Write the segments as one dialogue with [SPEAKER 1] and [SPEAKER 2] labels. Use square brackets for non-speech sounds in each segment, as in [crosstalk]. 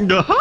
[SPEAKER 1] Jaha.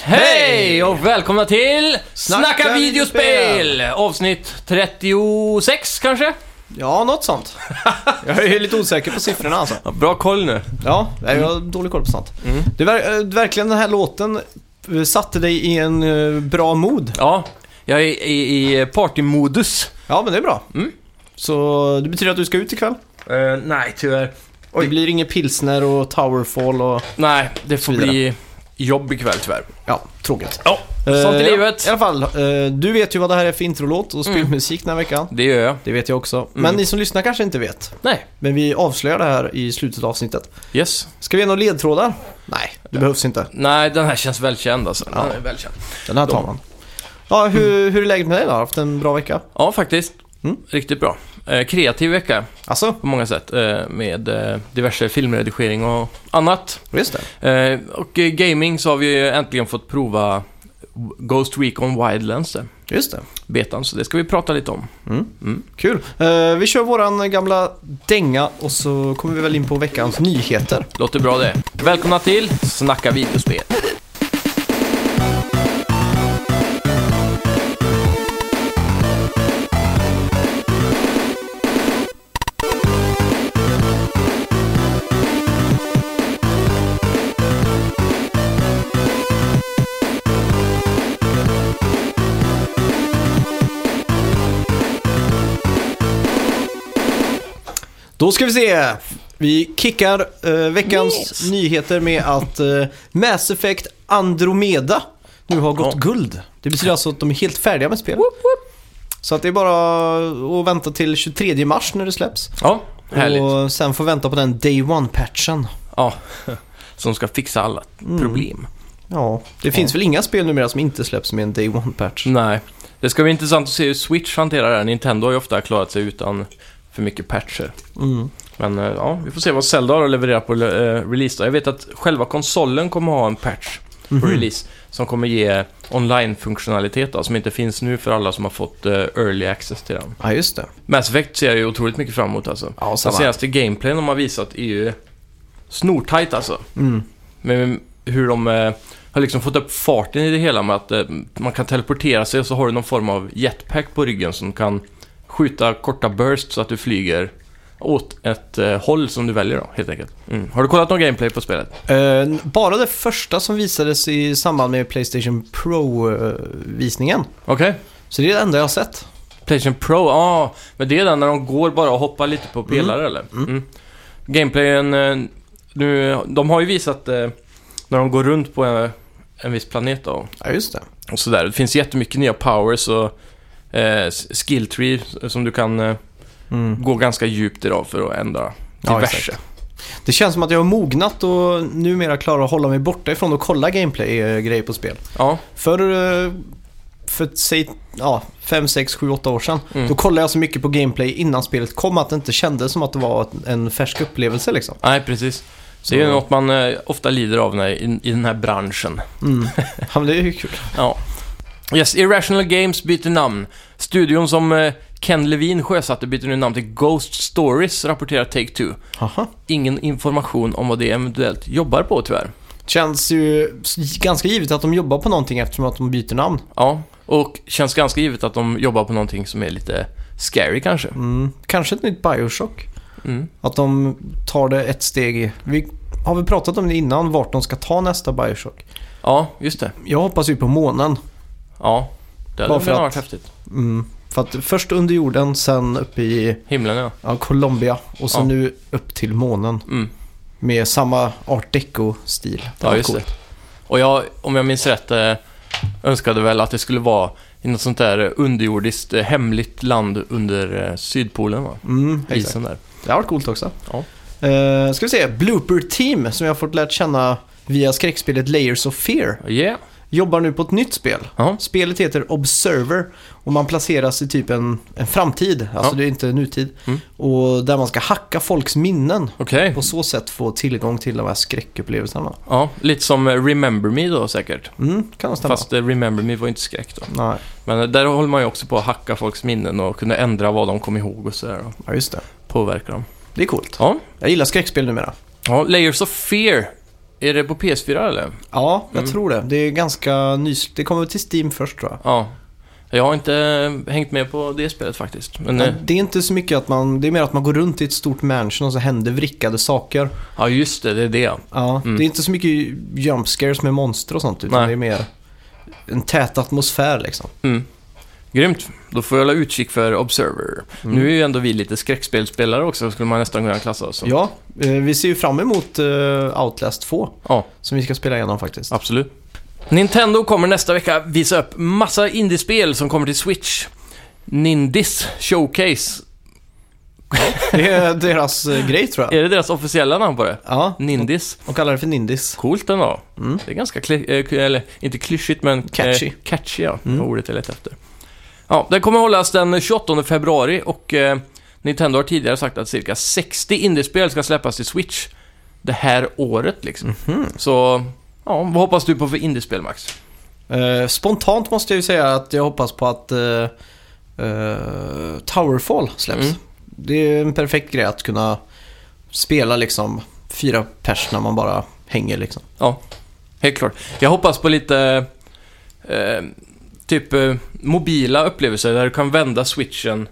[SPEAKER 2] Hej och välkomna till Snacka,
[SPEAKER 3] Snacka
[SPEAKER 2] videospel! Avsnitt 36 kanske?
[SPEAKER 3] Ja, något
[SPEAKER 2] [laughs]
[SPEAKER 3] sånt. Jag är ju lite osäker på siffrorna alltså.
[SPEAKER 2] Ja, bra koll nu.
[SPEAKER 3] Ja, nej, jag har
[SPEAKER 2] Mm.
[SPEAKER 3] dålig koll på sånt. Du, ver- eh, verkligen den här låten eh, satte dig i en eh, bra mod.
[SPEAKER 2] Ja, jag är i, i partymodus.
[SPEAKER 3] Ja, men det är bra.
[SPEAKER 2] Mm.
[SPEAKER 3] Så det betyder att du ska ut ikväll?
[SPEAKER 2] Eh, nej, tyvärr. Oj.
[SPEAKER 3] Det blir ingen pilsner och towerfall och...
[SPEAKER 2] Nej, det får
[SPEAKER 3] Så vidare.
[SPEAKER 2] bli jobb ikväll tyvärr.
[SPEAKER 3] Ja, tråkigt.
[SPEAKER 2] Ja, sånt i
[SPEAKER 3] Eh,
[SPEAKER 2] livet. Mm.
[SPEAKER 3] I alla fall, eh, du vet ju vad det här är för introlåt och spelmusik den här veckan.
[SPEAKER 2] Det gör jag.
[SPEAKER 3] Det vet jag också.
[SPEAKER 2] Mm.
[SPEAKER 3] Men ni som lyssnar kanske inte vet.
[SPEAKER 2] Nej.
[SPEAKER 3] Men vi avslöjar det här i slutet av avsnittet.
[SPEAKER 2] Yes.
[SPEAKER 3] Ska vi ge några ledtrådar? Nej, det behövs inte.
[SPEAKER 2] Nej, den här känns välkänd alltså.
[SPEAKER 3] Ja.
[SPEAKER 2] Den är välkänd.
[SPEAKER 3] Den här tar man. Ja, hur, hur är läget med dig då? Har du haft en bra vecka?
[SPEAKER 2] Ja, faktiskt.
[SPEAKER 3] Mm.
[SPEAKER 2] Riktigt bra. Eh, kreativ vecka
[SPEAKER 3] Alltså,
[SPEAKER 2] på många sätt. Eh, med eh, diverse filmredigering och annat.
[SPEAKER 3] just det.
[SPEAKER 2] Eh, och eh, gaming så har vi ju äntligen fått prova Ghost Recon Wildlands där.
[SPEAKER 3] Just det.
[SPEAKER 2] Betan, så det ska vi prata lite om.
[SPEAKER 3] Kul. Eh, vi kör våran gamla dänga och så kommer vi väl in på veckans nyheter.
[SPEAKER 2] Låter bra det. Välkomna till Snacka videospel.
[SPEAKER 3] Då ska vi se. Vi kickar eh, veckans nyheter med att eh, Mass Effect Andromeda nu har gått
[SPEAKER 2] Ja.
[SPEAKER 3] guld. Det betyder alltså att de är helt färdiga med spelet. Så att det är bara att vänta till 23 mars när det släpps.
[SPEAKER 2] Ja, härligt.
[SPEAKER 3] Och sen får vänta på den Day One-patchen.
[SPEAKER 2] Ja, [laughs] som ska fixa alla problem.
[SPEAKER 3] Ja, det finns väl inga spel numera som inte släpps med en Day One-patch?
[SPEAKER 2] Nej, det ska bli intressant att se hur Switch hanterar det här. Nintendo har ju ofta klarat sig utan för mycket patcher.
[SPEAKER 3] Mm.
[SPEAKER 2] Men eh, ja, vi får se vad Zelda har att leverera på eh, release då. Jag vet att själva konsolen kommer ha en patch på release som kommer ge online-funktionalitet då, som inte finns nu för alla som har fått eh, early access till den.
[SPEAKER 3] Ja, just det.
[SPEAKER 2] Mass Effect ser jag ju otroligt mycket fram emot alltså.
[SPEAKER 3] Ja,
[SPEAKER 2] Den
[SPEAKER 3] samma.
[SPEAKER 2] senaste gameplayen de har visat är ju snortajt alltså. Men hur de eh, har liksom fått upp farten i det hela med att eh, man kan teleportera sig och så har du någon form av jetpack på ryggen som kan skjuta korta bursts så att du flyger åt ett eh, håll som du väljer då, helt enkelt. Mm. Har du kollat någon gameplay på spelet?
[SPEAKER 3] Eh, bara det första som visades i samband med Playstation Pro-visningen.
[SPEAKER 2] Okej.
[SPEAKER 3] Så det är det enda jag har sett.
[SPEAKER 2] Playstation Pro, ja. Ah, men det är den när de går bara och hoppar lite på pelare eller? Mm. Gameplayen, eh, nu, de har ju visat eh, när de går runt på en, en viss planet då,
[SPEAKER 3] Ja, just det.
[SPEAKER 2] och sådär. Det finns jättemycket nya powers och eh, skill tree som du kan eh, gå ganska djupt i då för att ändra
[SPEAKER 3] Mm. Ja,
[SPEAKER 2] diverse.
[SPEAKER 3] Det känns som att jag har mognat och numera klarar att hålla mig borta ifrån att kolla gameplay-grejer på spel.
[SPEAKER 2] Ja,
[SPEAKER 3] För, eh, för säg, ja, 5, 6, 7, 8 år sedan. Då kollade jag så mycket på gameplay innan spelet kom att det inte kändes som att det var en färsk upplevelse liksom.
[SPEAKER 2] nej precis. Så det är ju något man eh, ofta lider av när, i, i den här branschen.
[SPEAKER 3] [laughs] Ja, men det är ju kul.
[SPEAKER 2] Ja. Yes, Irrational Games byter namn. Studion som eh, Ken Levine sjösatte byter nu namn till Ghost Stories, rapporterar Take-Two.
[SPEAKER 3] Aha.
[SPEAKER 2] Ingen information om vad det eventuellt jobbar på tyvärr.
[SPEAKER 3] Känns ju s- ganska givet att de jobbar på någonting eftersom att de byter namn.
[SPEAKER 2] Ja, och känns ganska givet att de jobbar på någonting som är lite scary kanske.
[SPEAKER 3] Mm. Kanske ett nytt Bioshock.
[SPEAKER 2] Mm.
[SPEAKER 3] Att de tar det ett steg. Vi har vi pratat om det innan, vart de ska ta nästa Bioshock?
[SPEAKER 2] Ja, just det.
[SPEAKER 3] Jag hoppas ju på månen.
[SPEAKER 2] Ja. Det hade
[SPEAKER 3] Bara för
[SPEAKER 2] väl varit
[SPEAKER 3] att-
[SPEAKER 2] häftigt.
[SPEAKER 3] Mm. För att först under jorden, sen upp i
[SPEAKER 2] Himlen ja.
[SPEAKER 3] ja, Colombia och sen
[SPEAKER 2] Ja.
[SPEAKER 3] nu upp till månen.
[SPEAKER 2] Mm.
[SPEAKER 3] Med samma art deco-stil. Det var
[SPEAKER 2] Ja, just
[SPEAKER 3] coolt.
[SPEAKER 2] det. Och jag, om jag minns rätt, eh, önskade väl att det skulle vara i något sånt där underjordiskt eh, hemligt land under eh, Sydpolen va?
[SPEAKER 3] Mm, exakt.
[SPEAKER 2] Isen där.
[SPEAKER 3] Det har varit coolt också.
[SPEAKER 2] Ja.
[SPEAKER 3] Eh, ska vi se, Blooper Team som jag har fått lärt känna via skräckspelet Layers of Fear.
[SPEAKER 2] Yeah.
[SPEAKER 3] Jobbar nu på ett nytt spel.
[SPEAKER 2] Ja.
[SPEAKER 3] Spelet heter Observer och man placeras i typ en, en framtid, alltså
[SPEAKER 2] Ja.
[SPEAKER 3] det är inte nutid.
[SPEAKER 2] Mm.
[SPEAKER 3] Och där man ska hacka folks minnen.
[SPEAKER 2] Okej.
[SPEAKER 3] På så sätt få tillgång till de här skräckupplevelserna.
[SPEAKER 2] Ja, lite som eh, Remember Me då säkert.
[SPEAKER 3] Mm, kan nog stämma.
[SPEAKER 2] Fast eh, Remember Me var inte skräck då.
[SPEAKER 3] Nej,
[SPEAKER 2] Men eh, där håller man ju också på att hacka folks minnen och kunna ändra vad de kom ihåg och sådär. och
[SPEAKER 3] ja just det.
[SPEAKER 2] Påverka dem.
[SPEAKER 3] Det är coolt.
[SPEAKER 2] Ja.
[SPEAKER 3] Jag gillar skräckspel numera.
[SPEAKER 2] ja, Layers of Fear. Är det på PS4 eller?
[SPEAKER 3] Ja, jag
[SPEAKER 2] Mm.
[SPEAKER 3] tror det. Det är ganska nys... Det kommer till Steam först tror jag.
[SPEAKER 2] Ja. Jag har inte eh, hängt med på det spelet faktiskt. Men, eh,
[SPEAKER 3] Men Det är inte så mycket att man... Det är mer att man går runt i ett stort mansion och så händer vrickade saker.
[SPEAKER 2] ja just det, det är det ja.
[SPEAKER 3] Ja,
[SPEAKER 2] Mm.
[SPEAKER 3] Det är inte så mycket jump scares med monster och sånt. Utan
[SPEAKER 2] Nej.
[SPEAKER 3] det är mer en tät atmosfär liksom.
[SPEAKER 2] Mm. Grymt. Då får jag hålla utkik för Observer.
[SPEAKER 3] Mm.
[SPEAKER 2] Nu är ju ändå vi lite skräckspelspelare också, skulle man nästan kunna klassa oss som.
[SPEAKER 3] Ja, eh, vi ser ju fram emot eh, Outlast 2.
[SPEAKER 2] Ja.
[SPEAKER 3] Som vi ska spela igenom faktiskt.
[SPEAKER 2] Absolut. Nintendo kommer nästa vecka visa upp massa indiespel som kommer till Switch. Nindis Showcase.
[SPEAKER 3] Det är deras eh, grej tror jag.
[SPEAKER 2] Är det deras officiella namn på det?
[SPEAKER 3] Ja,
[SPEAKER 2] Nindis.
[SPEAKER 3] de kallar det för Nindis.
[SPEAKER 2] Coolt ändå.
[SPEAKER 3] Mm.
[SPEAKER 2] Det är ganska, kli- eh, k- eller inte klyschigt men... eh,
[SPEAKER 3] Catchy.
[SPEAKER 2] catchy ja,
[SPEAKER 3] Mm.
[SPEAKER 2] det var ordet jag letade efter. Ja, den kommer hållas den 28 februari och eh, Nintendo har tidigare sagt att cirka 60 indiespel ska släppas till Switch det här året liksom. Så, ja, vad hoppas du på för indiespel Max?
[SPEAKER 3] Eh, spontant måste jag ju säga att jag hoppas på att eh, eh, Towerfall släpps.
[SPEAKER 2] Mm.
[SPEAKER 3] Det är en perfekt grej att kunna spela liksom fyra pers när man bara hänger liksom.
[SPEAKER 2] Ja, helt klart. Jag hoppas på lite, eh, typ eh, mobila upplevelser där du kan vända switchen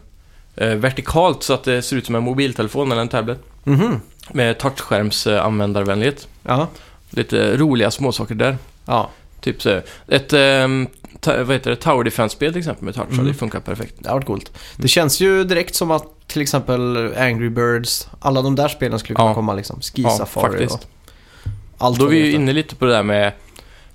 [SPEAKER 2] eh, vertikalt så att det ser ut som en mobiltelefon eller en tablet.
[SPEAKER 3] Mhm.
[SPEAKER 2] Med touchskärms eh, användarvänlighet.
[SPEAKER 3] Ja.
[SPEAKER 2] Lite roliga småsaker där.
[SPEAKER 3] Ja.
[SPEAKER 2] Typ så, ett ehm, ta, vad heter det, Tower Defense-spel till exempel med touch,
[SPEAKER 3] Mm.
[SPEAKER 2] det funkar perfekt.
[SPEAKER 3] Det har varit coolt.
[SPEAKER 2] Mm.
[SPEAKER 3] Det känns ju direkt som att till exempel Angry Birds, alla de där spelen skulle kunna
[SPEAKER 2] Ja.
[SPEAKER 3] komma liksom. Ski
[SPEAKER 2] Ja,
[SPEAKER 3] Safari och
[SPEAKER 2] faktiskt.
[SPEAKER 3] allt
[SPEAKER 2] Då är
[SPEAKER 3] vad
[SPEAKER 2] vi
[SPEAKER 3] det
[SPEAKER 2] ju
[SPEAKER 3] heter.
[SPEAKER 2] inne lite på det där med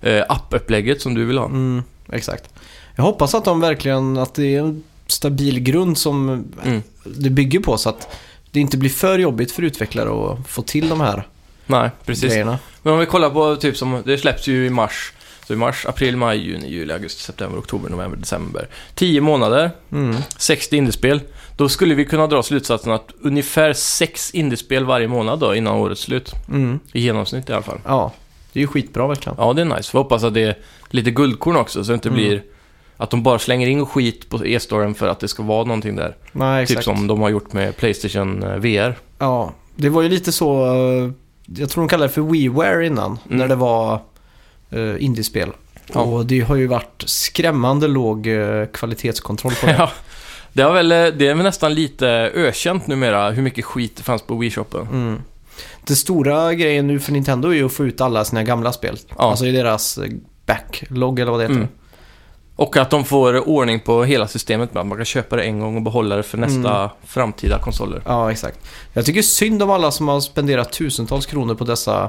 [SPEAKER 2] eh, app-upplägget som du vill ha.
[SPEAKER 3] Mm, exakt. Jag hoppas att de verkligen, att det är en stabil grund som
[SPEAKER 2] Mm.
[SPEAKER 3] det bygger på så att det inte blir för jobbigt för utvecklare att få till de här
[SPEAKER 2] Nej, precis.
[SPEAKER 3] grejerna.
[SPEAKER 2] Men om vi kollar på typ som, det släpps ju i mars. Så i mars, april, maj, juni, juli, augusti, september, oktober, november, december. 10 månader,
[SPEAKER 3] Mm.
[SPEAKER 2] 60 indiespel. Då skulle vi kunna dra slutsatsen att ungefär 6 indiespel varje månad då innan årets slut.
[SPEAKER 3] Mm.
[SPEAKER 2] I genomsnitt i alla fall.
[SPEAKER 3] Ja, det är ju skitbra verkligen.
[SPEAKER 2] Ja, det är nice. Vi hoppas att det är lite guldkorn också, så det inte
[SPEAKER 3] Mm.
[SPEAKER 2] blir att de bara slänger in skit på e-storen för att det ska vara någonting där.
[SPEAKER 3] Nej, exakt.
[SPEAKER 2] Typ som de har gjort med Playstation eh,
[SPEAKER 3] [laughs]
[SPEAKER 2] VR.
[SPEAKER 3] Ja, det var ju lite så, eh, jag tror de kallade det för WeWare innan,
[SPEAKER 2] Mm.
[SPEAKER 3] när det var uh, indiespel.
[SPEAKER 2] Ja.
[SPEAKER 3] Och det har ju varit skrämmande låg eh, kvalitetskontroll på det.
[SPEAKER 2] Ja. Det, har väl, eh, det är väl nästan lite ökänt numera hur mycket skit det fanns på Wii-shoppen.
[SPEAKER 3] Mm. Det stora grejen nu för Nintendo är ju att få ut alla sina gamla spel.
[SPEAKER 2] Ja.
[SPEAKER 3] Alltså i deras eh, backlog eller vad det heter.
[SPEAKER 2] Mm. Och att de får ordning på hela systemet med att man kan köpa det en gång och behålla det för nästa
[SPEAKER 3] Mm.
[SPEAKER 2] framtida konsoler.
[SPEAKER 3] Ja, exakt. Jag tycker synd om alla som har spenderat tusentals kronor på dessa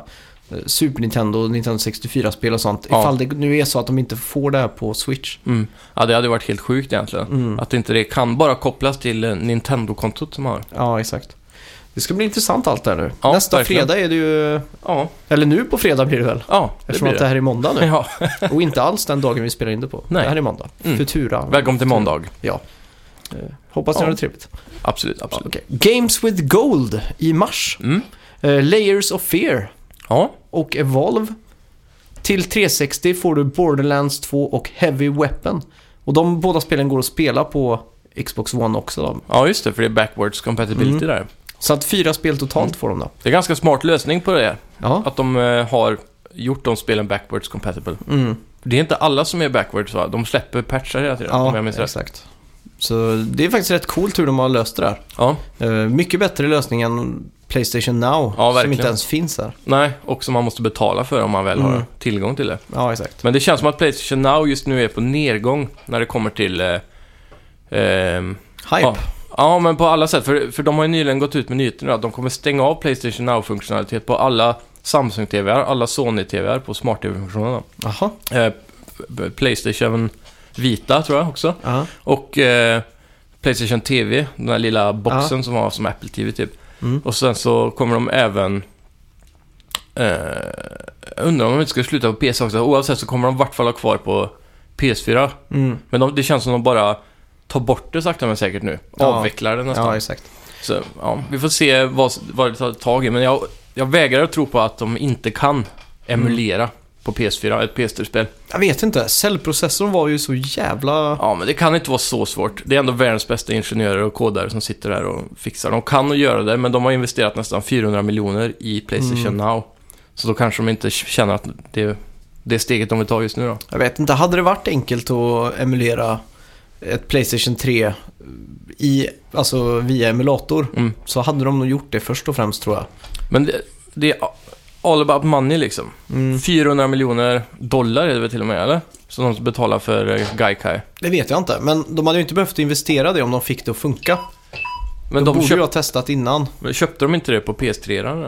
[SPEAKER 3] eh, Super Nintendo och Nintendo 64-spel och sånt.
[SPEAKER 2] Ja.
[SPEAKER 3] Ifall det nu är så att de inte får det här på Switch.
[SPEAKER 2] Mm. Ja, det hade varit helt sjukt egentligen.
[SPEAKER 3] Mm.
[SPEAKER 2] Att inte det kan bara kopplas till eh, Nintendo-kontot som man har.
[SPEAKER 3] Ja, exakt. Det ska bli intressant allt det här nu.
[SPEAKER 2] Ja,
[SPEAKER 3] Nästa
[SPEAKER 2] verkligen.
[SPEAKER 3] fredag är det ju...
[SPEAKER 2] Ja,
[SPEAKER 3] Eller nu på fredag blir det väl?
[SPEAKER 2] ja det
[SPEAKER 3] Eftersom
[SPEAKER 2] blir
[SPEAKER 3] att det
[SPEAKER 2] det.
[SPEAKER 3] här är måndag
[SPEAKER 2] [laughs]
[SPEAKER 3] nu.
[SPEAKER 2] Ja.
[SPEAKER 3] Och inte alls den dagen vi spelar in det på.
[SPEAKER 2] Nej.
[SPEAKER 3] Det här är måndag.
[SPEAKER 2] Mm.
[SPEAKER 3] Futura.
[SPEAKER 2] Välkommen till måndag.
[SPEAKER 3] Ja. Eh, Hoppas ni
[SPEAKER 2] Ja.
[SPEAKER 3] har det trevligt.
[SPEAKER 2] Absolut, absolut.
[SPEAKER 3] Okej. Games with Gold i mars.
[SPEAKER 2] Mm.
[SPEAKER 3] Eh, Layers of Fear
[SPEAKER 2] Ja,
[SPEAKER 3] och Evolve. Till 360 får du Borderlands 2 och Heavy Weapon. Och de båda spelen går att spela på Xbox One också då.
[SPEAKER 2] ja, just det, för det är backwards
[SPEAKER 3] Mm.
[SPEAKER 2] compatibility där.
[SPEAKER 3] Så att fyra spel totalt får de då.
[SPEAKER 2] Det är ganska smart lösning på det,
[SPEAKER 3] Ja.
[SPEAKER 2] att de eh, har gjort de spelen backwards compatible.
[SPEAKER 3] Mm.
[SPEAKER 2] Det är inte alla som är backwards va? De släpper patchar hela tiden, om jag
[SPEAKER 3] Ja,
[SPEAKER 2] minns rätt.
[SPEAKER 3] exakt. Så det är faktiskt rätt coolt hur de har löst det där.
[SPEAKER 2] Ja,
[SPEAKER 3] Eh, Mycket bättre lösning än Playstation Now,
[SPEAKER 2] Ja,
[SPEAKER 3] som
[SPEAKER 2] verkligen.
[SPEAKER 3] inte ens finns där.
[SPEAKER 2] nej, och som man måste betala för om man väl har
[SPEAKER 3] Mm.
[SPEAKER 2] tillgång till det.
[SPEAKER 3] Ja, exakt.
[SPEAKER 2] Men det känns som att Playstation Now just nu är på nedgång när det kommer till... Eh, ehm,
[SPEAKER 3] Hype.
[SPEAKER 2] Ja. ja, men på alla sätt. För, för de har ju nyligen gått ut med nyheter nu att de kommer stänga av Playstation Now-funktionalitet på alla Samsung-TVR, alla Sony-TVR på smart-TV-funktionerna.
[SPEAKER 3] Jaha.
[SPEAKER 2] Eh, p- Playstation Vita tror jag också.
[SPEAKER 3] Ja.
[SPEAKER 2] Och eh, Playstation TV, den där lilla boxen som var som Apple TV typ.
[SPEAKER 3] Mm.
[SPEAKER 2] Och sen så kommer de även... Eh, jag undrar om de inte ska sluta på PS också. Oavsett så kommer de i vart fall ha kvar på PS4.
[SPEAKER 3] Mm.
[SPEAKER 2] Men de, det känns som de bara tar bort det sakta men säkert nu.
[SPEAKER 3] Ja.
[SPEAKER 2] Avvecklar det nästan.
[SPEAKER 3] ja, exakt.
[SPEAKER 2] Så, ja, vi får se vad, vad det tar tag i, men jag, jag vägrar att tro på att de inte kan
[SPEAKER 3] Mm.
[SPEAKER 2] emulera på PS4, ett PS3-spel.
[SPEAKER 3] Jag vet inte, cellprocessorn var ju så jävla...
[SPEAKER 2] Ja, men det kan inte vara så svårt. Det är ändå världens bästa ingenjörer och kodare som sitter där och fixar. De kan och göra det, men de har investerat nästan 400 miljoner i Playstation
[SPEAKER 3] Mm.
[SPEAKER 2] Now. Så då kanske de inte känner att det, det är steget de vill ta just nu då.
[SPEAKER 3] Jag vet inte, hade det varit enkelt att emulera ett Playstation 3 i, alltså via emulator
[SPEAKER 2] Mm.
[SPEAKER 3] så hade de nog gjort det först och främst tror jag.
[SPEAKER 2] Men det, det är all about money liksom.
[SPEAKER 3] Mm.
[SPEAKER 2] 400 miljoner dollar är det väl till och med, eller? Som de betalar för eh, Gaikai.
[SPEAKER 3] Det vet jag inte, men de hade ju inte behövt investera det om de fick det att funka. De
[SPEAKER 2] Men de
[SPEAKER 3] borde
[SPEAKER 2] köpte
[SPEAKER 3] ju ha testat innan.
[SPEAKER 2] Men Köpte de inte det på PS3 redan?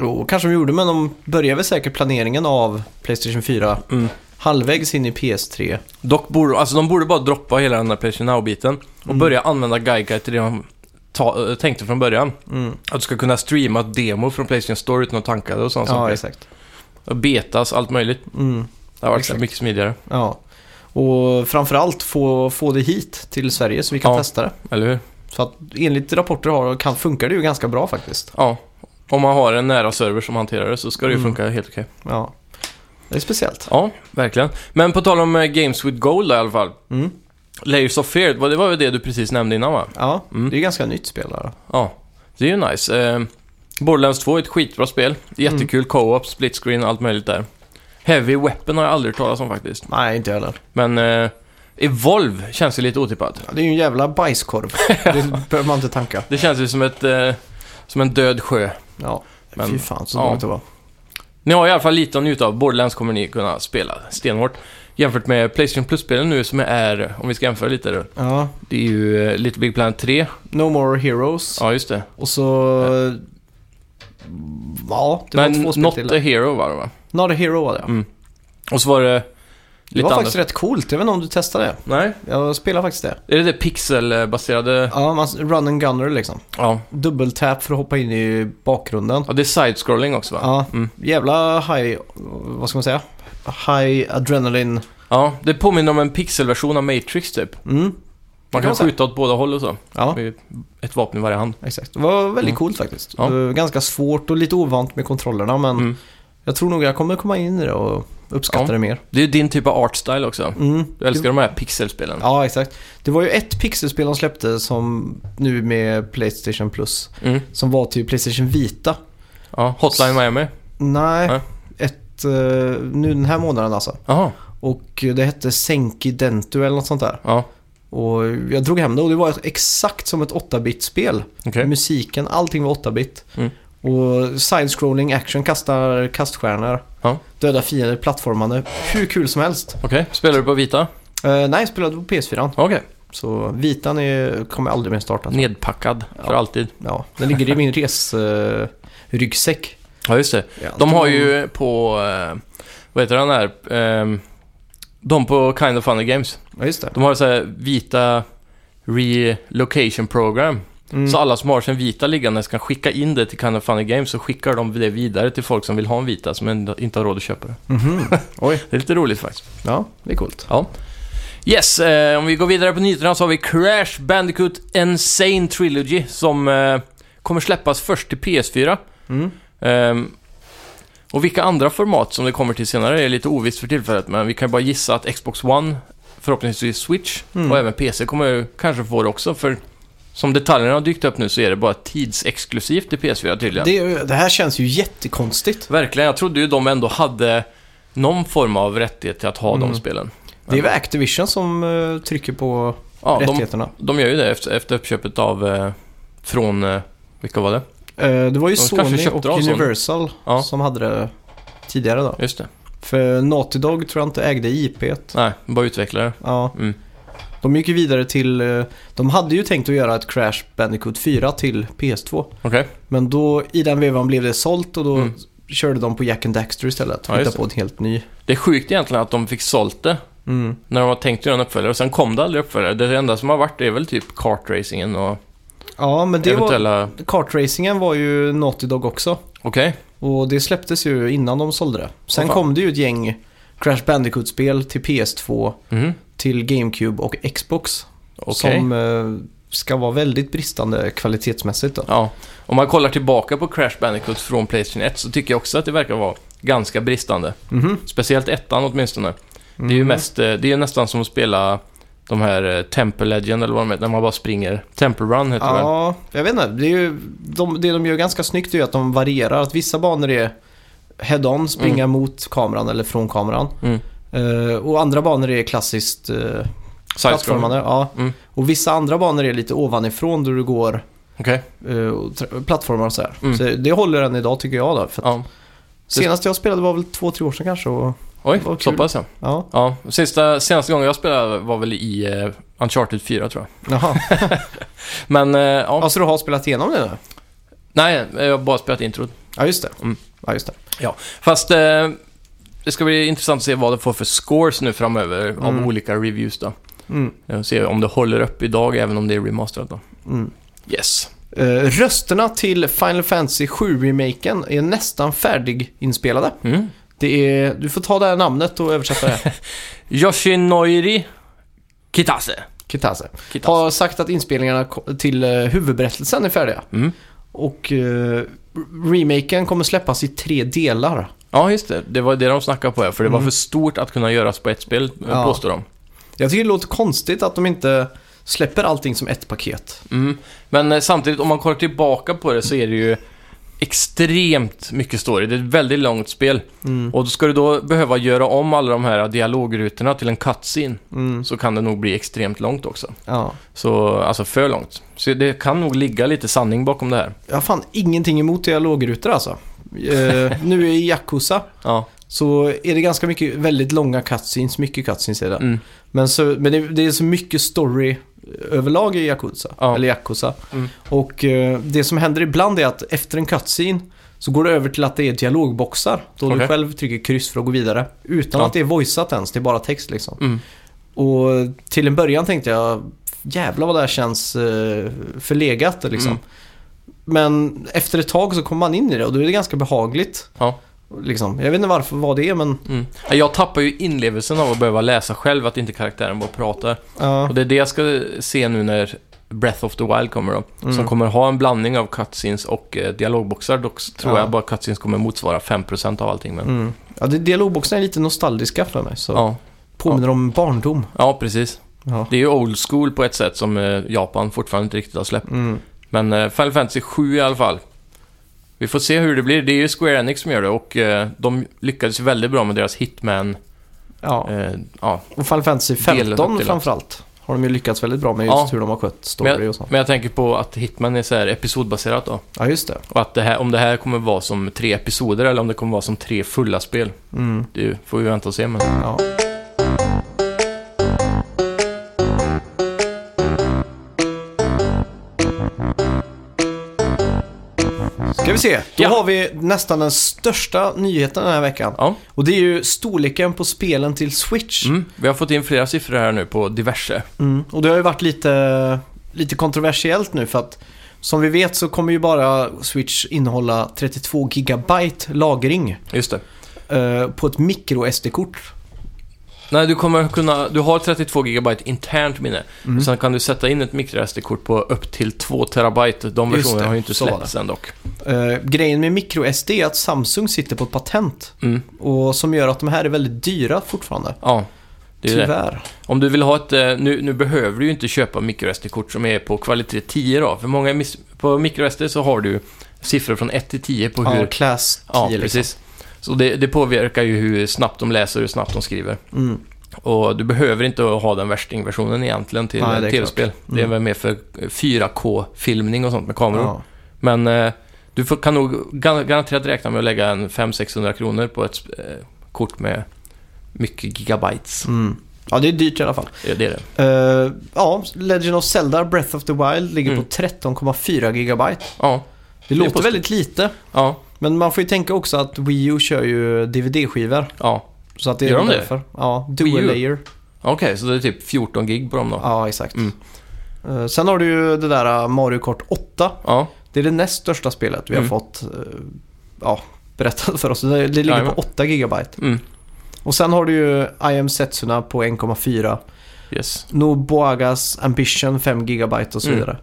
[SPEAKER 3] Jo, kanske de gjorde, men de började väl säkert planeringen av Playstation 4
[SPEAKER 2] Mm.
[SPEAKER 3] halvvägs in i PS3.
[SPEAKER 2] Dock borde, alltså de borde bara droppa hela den där Playstation Now-biten och
[SPEAKER 3] Mm.
[SPEAKER 2] börja använda Gaikai till det de ta, äh, tänkte från början.
[SPEAKER 3] Mm.
[SPEAKER 2] Att du ska kunna streama demo från Playstation Store utan att tanka det och sånt.
[SPEAKER 3] Ja,
[SPEAKER 2] Ja,
[SPEAKER 3] exakt.
[SPEAKER 2] och betas, allt möjligt.
[SPEAKER 3] Mm.
[SPEAKER 2] Det har varit
[SPEAKER 3] Exakt.
[SPEAKER 2] så mycket smidigare,
[SPEAKER 3] Ja. Och framförallt få, få det hit till Sverige så vi kan
[SPEAKER 2] Ja.
[SPEAKER 3] testa det.
[SPEAKER 2] eller hur?
[SPEAKER 3] Så att enligt rapporter har, kan, funkar det ju ganska bra faktiskt.
[SPEAKER 2] Ja. Om man har en nära server som hanterar det så ska det ju
[SPEAKER 3] Mm.
[SPEAKER 2] funka helt okej.
[SPEAKER 3] Ja. Det är speciellt.
[SPEAKER 2] Ja, verkligen. Men på tal om eh, Games with Gold i alla fall.
[SPEAKER 3] Mm.
[SPEAKER 2] Layers of Fear, det var- det var väl det du precis nämnde innan va?
[SPEAKER 3] Ja,
[SPEAKER 2] Mm.
[SPEAKER 3] det är ju ganska nytt spel där.
[SPEAKER 2] Ja, det är ju nice. Eh, Borderlands 2 är ett skitbra spel. Jättekul
[SPEAKER 3] Mm.
[SPEAKER 2] co-op, split screen, allt möjligt där. Heavy Weapon har jag aldrig hört talas om faktiskt.
[SPEAKER 3] Nej, inte jag heller.
[SPEAKER 2] Men eh, Evolve känns ju lite otippat.
[SPEAKER 3] Ja, Det är ju en jävla
[SPEAKER 2] [laughs]
[SPEAKER 3] bajskorv. det behöver man inte tanka.
[SPEAKER 2] Det känns ju som, ett, eh, som en död sjö.
[SPEAKER 3] Ja,
[SPEAKER 2] Men-
[SPEAKER 3] fy fan så
[SPEAKER 2] ja.
[SPEAKER 3] dåligt det var.
[SPEAKER 2] Ni har i alla fall lite att njuta av. Borderlands kommer ni kunna spela stenhårt. Jämfört med Playstation Plus-spelen nu som är, om vi ska jämföra lite då.
[SPEAKER 3] Ja.
[SPEAKER 2] Det är ju eh, Little Big Planet 3.
[SPEAKER 3] No More Heroes.
[SPEAKER 2] Ja, just det.
[SPEAKER 3] Och så... Ja, det var
[SPEAKER 2] Nej,
[SPEAKER 3] två spel
[SPEAKER 2] Not
[SPEAKER 3] till.
[SPEAKER 2] a Hero var det va?
[SPEAKER 3] Not a Hero var det.
[SPEAKER 2] Mm, Och så var det
[SPEAKER 3] det
[SPEAKER 2] lite
[SPEAKER 3] var
[SPEAKER 2] andra...
[SPEAKER 3] faktiskt rätt coolt. Jag vet inte om du testade det.
[SPEAKER 2] Nej,
[SPEAKER 3] Jag spelar faktiskt det.
[SPEAKER 2] är det det pixelbaserade...
[SPEAKER 3] Ja, man run and gunner liksom.
[SPEAKER 2] Ja.
[SPEAKER 3] Dubbeltap för att hoppa in i bakgrunden.
[SPEAKER 2] Ja, det är side-scrolling också va?
[SPEAKER 3] Ja,
[SPEAKER 2] Mm.
[SPEAKER 3] jävla high... Vad ska man säga? High adrenaline.
[SPEAKER 2] Ja, det påminner om en pixelversion av Matrix typ.
[SPEAKER 3] Mm.
[SPEAKER 2] Man
[SPEAKER 3] kan man
[SPEAKER 2] kan
[SPEAKER 3] säga.
[SPEAKER 2] skjuta åt båda håll och så.
[SPEAKER 3] Ja,
[SPEAKER 2] Med ett vapen i varje hand.
[SPEAKER 3] exakt. Det var väldigt
[SPEAKER 2] Mm.
[SPEAKER 3] coolt faktiskt.
[SPEAKER 2] Ja.
[SPEAKER 3] Eh, Ganska svårt och lite ovant med kontrollerna men
[SPEAKER 2] Mm.
[SPEAKER 3] jag tror nog jag kommer komma in i det och uppskatta
[SPEAKER 2] Ja.
[SPEAKER 3] det mer.
[SPEAKER 2] Det är ju din typ av artstyle också.
[SPEAKER 3] Mm.
[SPEAKER 2] Du älskar de här pixelspelen.
[SPEAKER 3] Ja, exakt. Det var ju ett pixelspel de släppte som nu med Playstation Plus.
[SPEAKER 2] Mm.
[SPEAKER 3] Som var till Playstation Vita.
[SPEAKER 2] Ja, Hotline Miami.
[SPEAKER 3] Nej,
[SPEAKER 2] Nej.
[SPEAKER 3] ett... eh, nu den här månaden alltså.
[SPEAKER 2] Jaha,
[SPEAKER 3] Och det hette Senki Dentu eller något sånt där.
[SPEAKER 2] ja.
[SPEAKER 3] Och jag drog hem det och det var exakt som ett 8-bit-spel.
[SPEAKER 2] Okej.
[SPEAKER 3] Musiken, allting var 8-bit.
[SPEAKER 2] Mm.
[SPEAKER 3] Och side-scrolling action, kastar kaststjärnor,
[SPEAKER 2] Ja.
[SPEAKER 3] döda fiender, plattformande. Hur kul som helst.
[SPEAKER 2] Okej, spelar du på vita?
[SPEAKER 3] Eh, nej, jag spelade på PS4.
[SPEAKER 2] Okej.
[SPEAKER 3] Så vitan är, kommer aldrig mer starta.
[SPEAKER 2] Nedpackad för
[SPEAKER 3] Ja.
[SPEAKER 2] alltid.
[SPEAKER 3] Ja, den ligger i min eh, resryggsäck.
[SPEAKER 2] Ja, just det. De har ju på... eh, vad heter den här? Eh, de på Kind of Funny Games.
[SPEAKER 3] Ja, just det.
[SPEAKER 2] De har så här vita relocation program.
[SPEAKER 3] Mm.
[SPEAKER 2] Så alla som har sin vita liggandes kan skicka in det till Kind of Funny Games och skickar de det vidare till folk som vill ha en vita som ändå inte har råd att köpa det. [laughs]
[SPEAKER 3] Mhm. Oj,
[SPEAKER 2] Det är lite roligt faktiskt.
[SPEAKER 3] ja, det är coolt.
[SPEAKER 2] Ja. Yes, eh, om vi går vidare på nyheterna så har vi Crash Bandicoot Insane Trilogy som eh, kommer släppas först till PS4.
[SPEAKER 3] Mm.
[SPEAKER 2] Ehm, och vilka andra format som det kommer till senare är lite ovisst för tillfället, men vi kan ju bara gissa att Xbox One, förhoppningsvis Switch
[SPEAKER 3] Mm.
[SPEAKER 2] och även PC kommer ju kanske få det också, för som detaljerna har dykt upp nu så är det bara tidsexklusivt till PS4 tydligen.
[SPEAKER 3] Det, är ju- det här känns ju jättekonstigt.
[SPEAKER 2] Verkligen, jag trodde ju de ändå hade någon form av rättighet till att ha
[SPEAKER 3] Mm.
[SPEAKER 2] de spelen.
[SPEAKER 3] Det är väl Activision som eh, trycker på
[SPEAKER 2] Ja, de,
[SPEAKER 3] rättigheterna.
[SPEAKER 2] de gör ju det efter, efter uppköpet av... Eh, från... Eh, vilka var det?
[SPEAKER 3] Eh, det var ju
[SPEAKER 2] de kanske
[SPEAKER 3] Sony
[SPEAKER 2] köpte
[SPEAKER 3] och
[SPEAKER 2] av Sony.
[SPEAKER 3] Universal
[SPEAKER 2] Ja.
[SPEAKER 3] som hade det tidigare då.
[SPEAKER 2] Just det.
[SPEAKER 3] För Naughty Dog tror jag inte ägde IP't.
[SPEAKER 2] Nej, bara utvecklare.
[SPEAKER 3] Ja.
[SPEAKER 2] Mm.
[SPEAKER 3] De gick ju vidare till... eh, De hade ju tänkt att göra ett Crash Bandicoot 4 till PS2.
[SPEAKER 2] Okej.
[SPEAKER 3] Men då, i den vevan blev det sålt och då
[SPEAKER 2] Mm.
[SPEAKER 3] körde de på Jack and Daxter istället.
[SPEAKER 2] Ja, just
[SPEAKER 3] hittade på en helt ny.
[SPEAKER 2] Det är sjukt egentligen att de fick sålt det
[SPEAKER 3] Mm.
[SPEAKER 2] när de var tänkt göra en uppföljare och sen kom det aldrig uppföljare. Det enda som har varit är väl typ kartracingen och
[SPEAKER 3] Ja, men det
[SPEAKER 2] eventuella...
[SPEAKER 3] var... Kartracingen var ju Naughty Dog också.
[SPEAKER 2] Okej.
[SPEAKER 3] Och det släpptes ju innan de sålde det. Sen
[SPEAKER 2] Åh, fan.
[SPEAKER 3] kom det ju ett gäng Crash Bandicoot-spel till PS2,
[SPEAKER 2] Mhm.
[SPEAKER 3] till GameCube och Xbox.
[SPEAKER 2] Okej.
[SPEAKER 3] Som eh, ska vara väldigt bristande kvalitetsmässigt då.
[SPEAKER 2] Ja. Om man kollar tillbaka på Crash Bandicoot från Playstation 1 så tycker jag också att det verkar vara ganska bristande.
[SPEAKER 3] Mhm.
[SPEAKER 2] Speciellt ettan åtminstone. Det är ju
[SPEAKER 3] Mhm.
[SPEAKER 2] mest, eh, det är ju nästan som att spela de här eh, Temple Legend eller vad de heter, när man bara springer. Temple Run heter det väl?
[SPEAKER 3] Ja, jag vet inte. Det, är ju, de, det de gör ganska snyggt är ju att de varierar. Att vissa banor är head-on, springa mot kameran eller från kameran.
[SPEAKER 2] Mm.
[SPEAKER 3] Eh, och andra banor är klassiskt uh,
[SPEAKER 2] Sidescroller.
[SPEAKER 3] plattformande. Ja.
[SPEAKER 2] Mm.
[SPEAKER 3] Och vissa andra banor är lite ovanifrån då du går
[SPEAKER 2] Okej.
[SPEAKER 3] eh, och tra- plattformar och sådär.
[SPEAKER 2] Mm.
[SPEAKER 3] Så det håller än idag tycker jag. Då, för att
[SPEAKER 2] Ja.
[SPEAKER 3] Senast jag spelade var väl två, tre år sedan kanske. Och,
[SPEAKER 2] Oj,
[SPEAKER 3] Vad
[SPEAKER 2] så
[SPEAKER 3] kul.
[SPEAKER 2] pass ja.
[SPEAKER 3] ja.
[SPEAKER 2] ja. Sista, senaste gången jag spelade var väl i eh, Uncharted 4 tror jag.
[SPEAKER 3] Jaha.
[SPEAKER 2] Men eh, [laughs] ja.
[SPEAKER 3] ja, så du har spelat igenom det nu?
[SPEAKER 2] Nej, eh, jag har bara spelat introt.
[SPEAKER 3] Ja, just det.
[SPEAKER 2] Mm.
[SPEAKER 3] Ja, just det.
[SPEAKER 2] Fast eh, det ska bli intressant att se vad det får för scores nu framöver
[SPEAKER 3] Mm.
[SPEAKER 2] av olika reviews då.
[SPEAKER 3] Mm.
[SPEAKER 2] Eh, Se om det håller upp idag även om det är remasterat då.
[SPEAKER 3] Mm.
[SPEAKER 2] Yes.
[SPEAKER 3] Eh, rösterna till Final Fantasy 7-remaken är nästan färdiginspelade.
[SPEAKER 2] Mm.
[SPEAKER 3] Det är, du får ta det här namnet och översätta det.
[SPEAKER 2] Yoshinoiri Kitase.
[SPEAKER 3] Kitase.
[SPEAKER 2] Kitase.
[SPEAKER 3] Har sagt att inspelningarna ko- till eh, huvudberättelsen är färdiga.
[SPEAKER 2] Mm.
[SPEAKER 3] Och eh, remaken kommer släppas i tre delar.
[SPEAKER 2] Ja, just det. Det var det de snackade på, ja, för det var för stort att kunna göras på ett spel, eh,
[SPEAKER 3] Ja.
[SPEAKER 2] påstår de.
[SPEAKER 3] Jag tycker det låter konstigt att de inte släpper allting som ett paket.
[SPEAKER 2] Mm. Men eh, samtidigt, om man kollar tillbaka på det så är det ju extremt mycket story. Det är ett väldigt långt spel.
[SPEAKER 3] Mm.
[SPEAKER 2] Och då ska du då behöva göra om alla de här dialogrutorna till en cutscene
[SPEAKER 3] Mm.
[SPEAKER 2] så kan det nog bli extremt långt också.
[SPEAKER 3] Ja.
[SPEAKER 2] Så, alltså för långt. Så det kan nog ligga lite sanning bakom det här.
[SPEAKER 3] Jag har fan ingenting emot dialogrutor alltså. Eh, nu i Yakuza
[SPEAKER 2] Ja,
[SPEAKER 3] så är det ganska mycket, väldigt långa cutscenes, mycket cutscenes är det.
[SPEAKER 2] mm.
[SPEAKER 3] Men, så, men det, det är så mycket story överlag i Yakuza.
[SPEAKER 2] Ja.
[SPEAKER 3] Eller Yakuza.
[SPEAKER 2] Mm.
[SPEAKER 3] Och eh, det som händer ibland är att efter en cutscene så går det över till att det är dialogboxar. Då
[SPEAKER 2] Okej.
[SPEAKER 3] du själv trycker kryss för att gå vidare. Utan
[SPEAKER 2] Ja.
[SPEAKER 3] att det är voiceat ens, det är bara text liksom.
[SPEAKER 2] Mm.
[SPEAKER 3] Och till en början tänkte jag jävlar vad det här känns eh, förlegat liksom.
[SPEAKER 2] Mm.
[SPEAKER 3] Men efter ett tag så kommer man in i det och då är det ganska behagligt.
[SPEAKER 2] Ja.
[SPEAKER 3] Liksom. Jag vet inte varför, vad det är men...
[SPEAKER 2] Mm. Jag tappar ju inlevelsen av att behöva läsa själv, att inte karaktären bara pratar.
[SPEAKER 3] ja.
[SPEAKER 2] Och det är det jag ska se nu när Breath of the Wild kommer då.
[SPEAKER 3] Mm.
[SPEAKER 2] Som kommer ha en blandning av cutscenes och eh, dialogboxar. Dock så tror
[SPEAKER 3] Ja.
[SPEAKER 2] jag bara cutscenes kommer motsvara 5% av allting. Men,
[SPEAKER 3] Mm. Ja, det, dialogboxen är lite nostalgiska för mig. Så
[SPEAKER 2] ja.
[SPEAKER 3] Påminner om barndom.
[SPEAKER 2] ja, precis.
[SPEAKER 3] Ja.
[SPEAKER 2] Det är ju old school på ett sätt som eh, Japan fortfarande inte riktigt har släppt.
[SPEAKER 3] Mm.
[SPEAKER 2] Men eh, Final Fantasy 7 i alla fall. Vi får se hur det blir. Det är ju Square Enix som gör det och eh, de lyckades ju väldigt bra med deras Hitman.
[SPEAKER 3] Ja.
[SPEAKER 2] Eh, ja.
[SPEAKER 3] Och Final Fantasy
[SPEAKER 2] Delat upp
[SPEAKER 3] 15
[SPEAKER 2] till
[SPEAKER 3] framförallt har de ju lyckats väldigt bra med just
[SPEAKER 2] Ja.
[SPEAKER 3] hur de har skött
[SPEAKER 2] Men,
[SPEAKER 3] story och
[SPEAKER 2] jag,
[SPEAKER 3] sånt.
[SPEAKER 2] men jag tänker på att Hitman är så här episodbaserat då.
[SPEAKER 3] Ja, just det.
[SPEAKER 2] Och att det här, om det här kommer vara som tre episoder eller om det kommer vara som tre fulla spel.
[SPEAKER 3] Mm.
[SPEAKER 2] Det är ju- får vi vänta och se. Men...
[SPEAKER 3] Ja. Ska vi se. Då
[SPEAKER 2] Ja.
[SPEAKER 3] har vi nästan den största nyheten den här veckan.
[SPEAKER 2] Ja.
[SPEAKER 3] Och det är ju storleken på spelen till Switch.
[SPEAKER 2] Mm. Vi har fått in flera siffror här nu på diverse.
[SPEAKER 3] Mm. Och det har ju varit lite, lite kontroversiellt nu för att som vi vet så kommer ju bara Switch innehålla 32 gigabyte lagring
[SPEAKER 2] Just det.
[SPEAKER 3] eh, på ett micro SD-kort.
[SPEAKER 2] Nej, du kommer kunna... Du har 32 GB internt minne.
[SPEAKER 3] Mm.
[SPEAKER 2] Sen kan du sätta in ett microSD-kort på upp till 2 terabyte. De
[SPEAKER 3] Just
[SPEAKER 2] versionerna
[SPEAKER 3] det,
[SPEAKER 2] har ju inte
[SPEAKER 3] så var
[SPEAKER 2] släppts än dock.
[SPEAKER 3] Eh, grejen med micro SD är att Samsung sitter på ett patent
[SPEAKER 2] Mm.
[SPEAKER 3] och som gör att de här är väldigt dyra fortfarande.
[SPEAKER 2] Ja, det är ju det.
[SPEAKER 3] Tyvärr.
[SPEAKER 2] Om du vill ha ett... eh, Nu, nu behöver du ju inte köpa microSD-kort som är på kvalitet 10 då. För många miss, på microSD så har du siffror från 1 till 10 på hur...
[SPEAKER 3] Ja, class 10
[SPEAKER 2] Ja,
[SPEAKER 3] liksom.
[SPEAKER 2] precis. Så det, det påverkar ju hur snabbt de läser och hur snabbt de skriver.
[SPEAKER 3] Mm.
[SPEAKER 2] Och du behöver inte ha den värstingversionen egentligen till
[SPEAKER 3] Nej, det är Mm.
[SPEAKER 2] tv-spel. Det är väl mer för 4K-filmning och sånt med kameror.
[SPEAKER 3] Ja.
[SPEAKER 2] Men eh, du får, kan nog gar- garanterat räkna med att lägga en 500-600 kronor på ett sp- eh, kort med mycket gigabytes.
[SPEAKER 3] Mm. ja, det är dyrt i alla fall.
[SPEAKER 2] Det är det.
[SPEAKER 3] Eh, ja, Legend of Zelda Breath of the Wild ligger
[SPEAKER 2] Mm.
[SPEAKER 3] på 13,4 gigabyte.
[SPEAKER 2] Ja.
[SPEAKER 3] Det,
[SPEAKER 2] är
[SPEAKER 3] låter
[SPEAKER 2] på-
[SPEAKER 3] väldigt lite.
[SPEAKER 2] Ja.
[SPEAKER 3] Men man får ju tänka också att Wii U kör ju DVD-skivor.
[SPEAKER 2] Ja.
[SPEAKER 3] Så att det är
[SPEAKER 2] Gör
[SPEAKER 3] väl
[SPEAKER 2] de det?
[SPEAKER 3] därför. Ja,
[SPEAKER 2] Wii
[SPEAKER 3] dual
[SPEAKER 2] U?
[SPEAKER 3] layer.
[SPEAKER 2] Okej, så det är typ 14 gig på dem då? Ja.
[SPEAKER 3] Ja, exakt.
[SPEAKER 2] Mm.
[SPEAKER 3] Eh, Sen har du ju det där eh, Mario Kart 8.
[SPEAKER 2] Ja,
[SPEAKER 3] Det är det näst största spelet vi
[SPEAKER 2] Mm.
[SPEAKER 3] har fått eh, ja, berättat för oss. Det, det ligger
[SPEAKER 2] Jajamän.
[SPEAKER 3] på 8 gigabyte.
[SPEAKER 2] mm.
[SPEAKER 3] Och sen har du ju I am Setsuna på 1,4.
[SPEAKER 2] yes.
[SPEAKER 3] Nobuagas Ambition 5 gigabyte och så
[SPEAKER 2] Mm.
[SPEAKER 3] vidare.